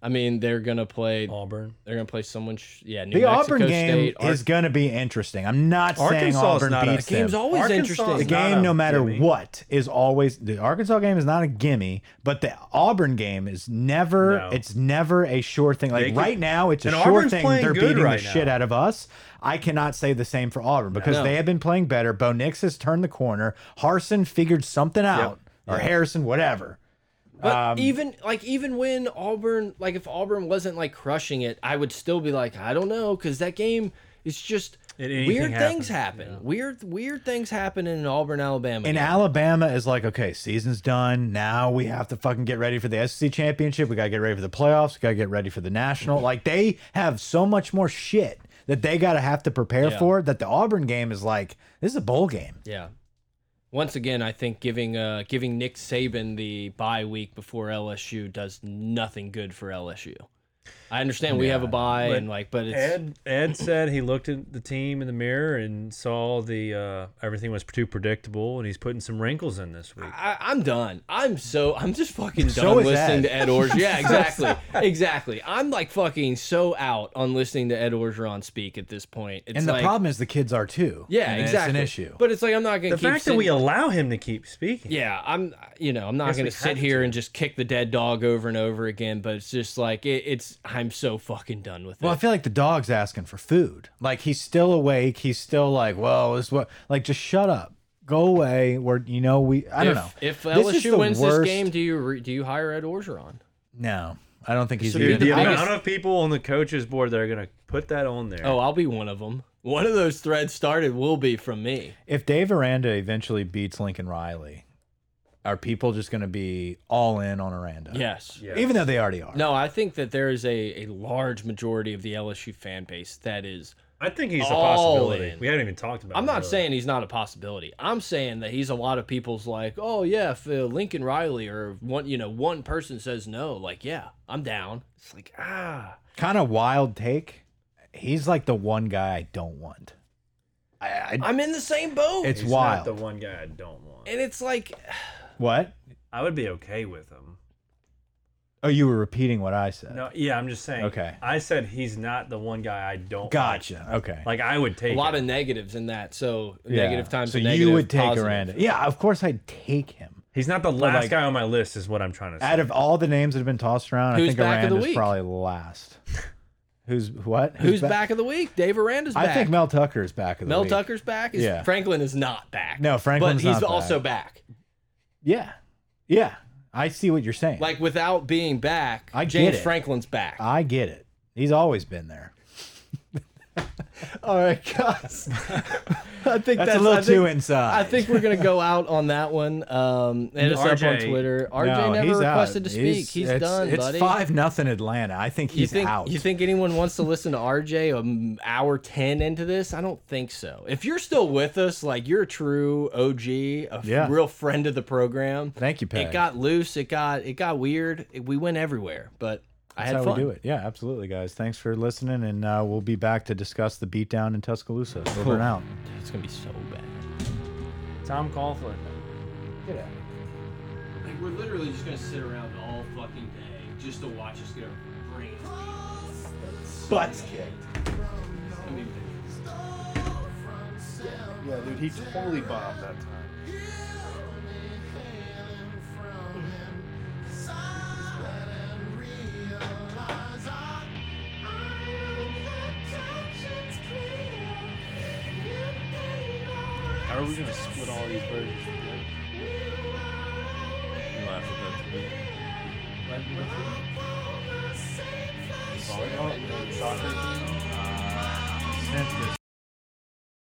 [SPEAKER 1] I mean, they're gonna play.
[SPEAKER 4] Auburn.
[SPEAKER 1] They're gonna play someone. Sh yeah, New
[SPEAKER 2] The
[SPEAKER 1] Mexico
[SPEAKER 2] Auburn game
[SPEAKER 1] State. Ar-
[SPEAKER 2] is going to be interesting. I'm not saying
[SPEAKER 4] Arkansas is
[SPEAKER 2] Auburn
[SPEAKER 4] not a
[SPEAKER 2] beats
[SPEAKER 1] game's
[SPEAKER 2] them.
[SPEAKER 1] always
[SPEAKER 4] Arkansas
[SPEAKER 1] interesting.
[SPEAKER 4] is
[SPEAKER 2] the
[SPEAKER 1] The
[SPEAKER 4] not
[SPEAKER 2] game,
[SPEAKER 4] a
[SPEAKER 2] no matter
[SPEAKER 4] gimme.
[SPEAKER 2] what, is always the Arkansas game is not a gimme, but the Auburn game is never.
[SPEAKER 4] No.
[SPEAKER 2] It's never a sure thing. Like
[SPEAKER 4] They could-
[SPEAKER 2] right now, it's a
[SPEAKER 4] And
[SPEAKER 2] sure
[SPEAKER 4] Auburn's
[SPEAKER 2] thing.
[SPEAKER 4] playing
[SPEAKER 2] They're
[SPEAKER 4] good
[SPEAKER 2] beating
[SPEAKER 4] right
[SPEAKER 2] the
[SPEAKER 4] now.
[SPEAKER 2] shit out of us. I cannot say the same for Auburn because
[SPEAKER 1] No.
[SPEAKER 2] they have been playing better. Bo Nix has turned the corner. Harson figured something out, or Harrison, whatever.
[SPEAKER 1] but
[SPEAKER 4] Um,
[SPEAKER 1] even like even when Auburn, like if Auburn wasn't like crushing it, I would still be like, I don't know, because that game is just
[SPEAKER 4] It- anything
[SPEAKER 1] weird things
[SPEAKER 4] happens.
[SPEAKER 1] happen. Weird weird things happen in an Auburn, Alabama. game.
[SPEAKER 2] And Alabama is like, okay, season's done. Now we have to fucking get ready for the SEC championship. We gotta get ready for the playoffs. We gotta get ready for the national. Like they have so much more shit that they gotta have to prepare
[SPEAKER 1] Yeah.
[SPEAKER 2] for. That the Auburn game is like, this is a bowl game.
[SPEAKER 1] Yeah. Once again, I think giving uh, giving Nick Saban the bye week before LSU does nothing good for LSU. I understand we have a bye and like, but it's
[SPEAKER 4] Ed Ed said he looked at the team in the mirror and saw the uh, everything was too predictable, and he's putting some wrinkles in this week.
[SPEAKER 1] I, I'm done. I'm so I'm just fucking done
[SPEAKER 2] So is
[SPEAKER 1] listening
[SPEAKER 2] Ed.
[SPEAKER 1] to Ed Orgeron. Yeah, exactly, exactly. I'm like fucking so out on listening to Ed Orgeron speak at this point. It's
[SPEAKER 2] And
[SPEAKER 1] like-
[SPEAKER 2] the problem is the kids are too.
[SPEAKER 1] yeah,
[SPEAKER 2] And
[SPEAKER 1] exactly,
[SPEAKER 2] It's an issue.
[SPEAKER 1] But it's like I'm not gonna
[SPEAKER 4] The
[SPEAKER 1] keep
[SPEAKER 4] fact that we
[SPEAKER 1] sitting-
[SPEAKER 4] allow him to keep speaking.
[SPEAKER 1] Yeah, I'm. You know, I'm not
[SPEAKER 4] Guess
[SPEAKER 1] going
[SPEAKER 4] we
[SPEAKER 1] to sit
[SPEAKER 4] have
[SPEAKER 1] here
[SPEAKER 4] to.
[SPEAKER 1] and just kick the dead dog over and over again. But it's just like it, it's. I'm so fucking done with it.
[SPEAKER 2] Well, I feel like the dog's asking for food. Like he's still awake. He's still like, "Whoa, this is what." Like, just shut up. Go away. Where you know we. I
[SPEAKER 1] if,
[SPEAKER 2] don't know.
[SPEAKER 1] If
[SPEAKER 2] This is
[SPEAKER 1] LSU
[SPEAKER 2] the
[SPEAKER 1] wins
[SPEAKER 2] worst-
[SPEAKER 1] this game, do you re, do you hire Ed Orgeron?
[SPEAKER 2] no, I don't think he's.
[SPEAKER 4] Dude,
[SPEAKER 2] even-
[SPEAKER 4] the
[SPEAKER 1] I
[SPEAKER 4] amount
[SPEAKER 1] just-
[SPEAKER 4] of people on the coaches board that are gonna put that on there.
[SPEAKER 1] Oh, I'll be one of them. One of those threads started will be from me.
[SPEAKER 2] If Dave Aranda eventually beats Lincoln Riley, are people just going to be all in on Aranda?
[SPEAKER 1] Yes.
[SPEAKER 4] Yeah.
[SPEAKER 2] Even though they already are.
[SPEAKER 1] No, I think that there is a, a large majority of the LSU fan base that is.
[SPEAKER 4] I think he's a
[SPEAKER 1] All
[SPEAKER 4] possibility.
[SPEAKER 1] in.
[SPEAKER 4] We haven't even talked about.
[SPEAKER 1] I'm
[SPEAKER 4] him,
[SPEAKER 1] not
[SPEAKER 4] really.
[SPEAKER 1] saying he's not a possibility. I'm saying that he's a lot of people's like, oh yeah, if uh, Lincoln Riley or one, you know, one person says no, like yeah, I'm down. It's like ah,
[SPEAKER 2] Kind of wild take. He's like the one guy I don't want. I, I,
[SPEAKER 1] I'm in the same boat.
[SPEAKER 2] it's
[SPEAKER 4] he's
[SPEAKER 2] wild.
[SPEAKER 4] not the one guy I don't want.
[SPEAKER 1] and it's like,
[SPEAKER 2] what?
[SPEAKER 4] I would be okay with him.
[SPEAKER 2] Oh, you were repeating what I said.
[SPEAKER 4] No, yeah, I'm just saying.
[SPEAKER 2] Okay.
[SPEAKER 4] I said he's not the one guy I don't.
[SPEAKER 2] Gotcha. Okay.
[SPEAKER 4] Like, like I would take
[SPEAKER 1] a lot
[SPEAKER 4] him.
[SPEAKER 1] of negatives in that. So
[SPEAKER 2] Yeah.
[SPEAKER 1] negative times.
[SPEAKER 2] So
[SPEAKER 1] a
[SPEAKER 2] you
[SPEAKER 1] negative,
[SPEAKER 2] would take
[SPEAKER 1] positive.
[SPEAKER 2] Aranda. Yeah, of course I'd take him.
[SPEAKER 4] He's not the last
[SPEAKER 2] like-
[SPEAKER 4] guy on my list, is what I'm trying to say.
[SPEAKER 2] Out of all the names that have been tossed around,
[SPEAKER 1] Who's
[SPEAKER 2] I think
[SPEAKER 1] back of the
[SPEAKER 2] Aranda's
[SPEAKER 1] week?
[SPEAKER 2] probably last. Who's what?
[SPEAKER 1] Who's
[SPEAKER 2] ba-
[SPEAKER 1] back? of the week? Dave Aranda's back.
[SPEAKER 2] I think Mel Tucker is back of the
[SPEAKER 1] Mel
[SPEAKER 2] week.
[SPEAKER 1] Tucker's back. Is
[SPEAKER 2] Yeah.
[SPEAKER 1] Franklin is not back.
[SPEAKER 2] No, Franklin's
[SPEAKER 1] But he's
[SPEAKER 2] not back.
[SPEAKER 1] also back.
[SPEAKER 2] Yeah. Yeah. I see what you're saying.
[SPEAKER 1] Like without being back,
[SPEAKER 2] I get
[SPEAKER 1] James
[SPEAKER 2] it.
[SPEAKER 1] Franklin's back.
[SPEAKER 2] I get it. He's always been there. All right, guys.
[SPEAKER 1] I think
[SPEAKER 2] That's, a little
[SPEAKER 1] I think-
[SPEAKER 2] too inside.
[SPEAKER 1] I think we're gonna go out on that one. Um, hit us up on
[SPEAKER 4] RJ.
[SPEAKER 1] Twitter. RJ
[SPEAKER 2] No,
[SPEAKER 1] never
[SPEAKER 2] he's out.
[SPEAKER 1] requested to speak. He's,
[SPEAKER 2] it's,
[SPEAKER 1] done,
[SPEAKER 2] It's
[SPEAKER 1] buddy.
[SPEAKER 2] five nothing Atlanta. I think he's
[SPEAKER 1] you think
[SPEAKER 2] out.
[SPEAKER 1] you think anyone wants to listen to RJ an hour ten into this? I don't think so. If you're still with us, like you're a true OG, a
[SPEAKER 2] Yeah.
[SPEAKER 1] real friend of the program.
[SPEAKER 2] Thank you, Peg.
[SPEAKER 1] It got loose. It got it got weird. It- we went everywhere, but I
[SPEAKER 2] That's
[SPEAKER 1] had
[SPEAKER 2] how
[SPEAKER 1] fun.
[SPEAKER 2] we do it. Yeah, absolutely, guys. Thanks for listening, and uh, we'll be back to discuss the beatdown in Tuscaloosa. Over and out.
[SPEAKER 1] It's gonna be so bad.
[SPEAKER 4] Tom Coughlin.
[SPEAKER 1] Like we're literally just gonna sit around all fucking day just to watch us get our brains butts kicked. I mean,
[SPEAKER 5] Yeah, dude, he totally bombed that time.
[SPEAKER 6] How are we gonna split all these versions?
[SPEAKER 5] Volleyball, soccer.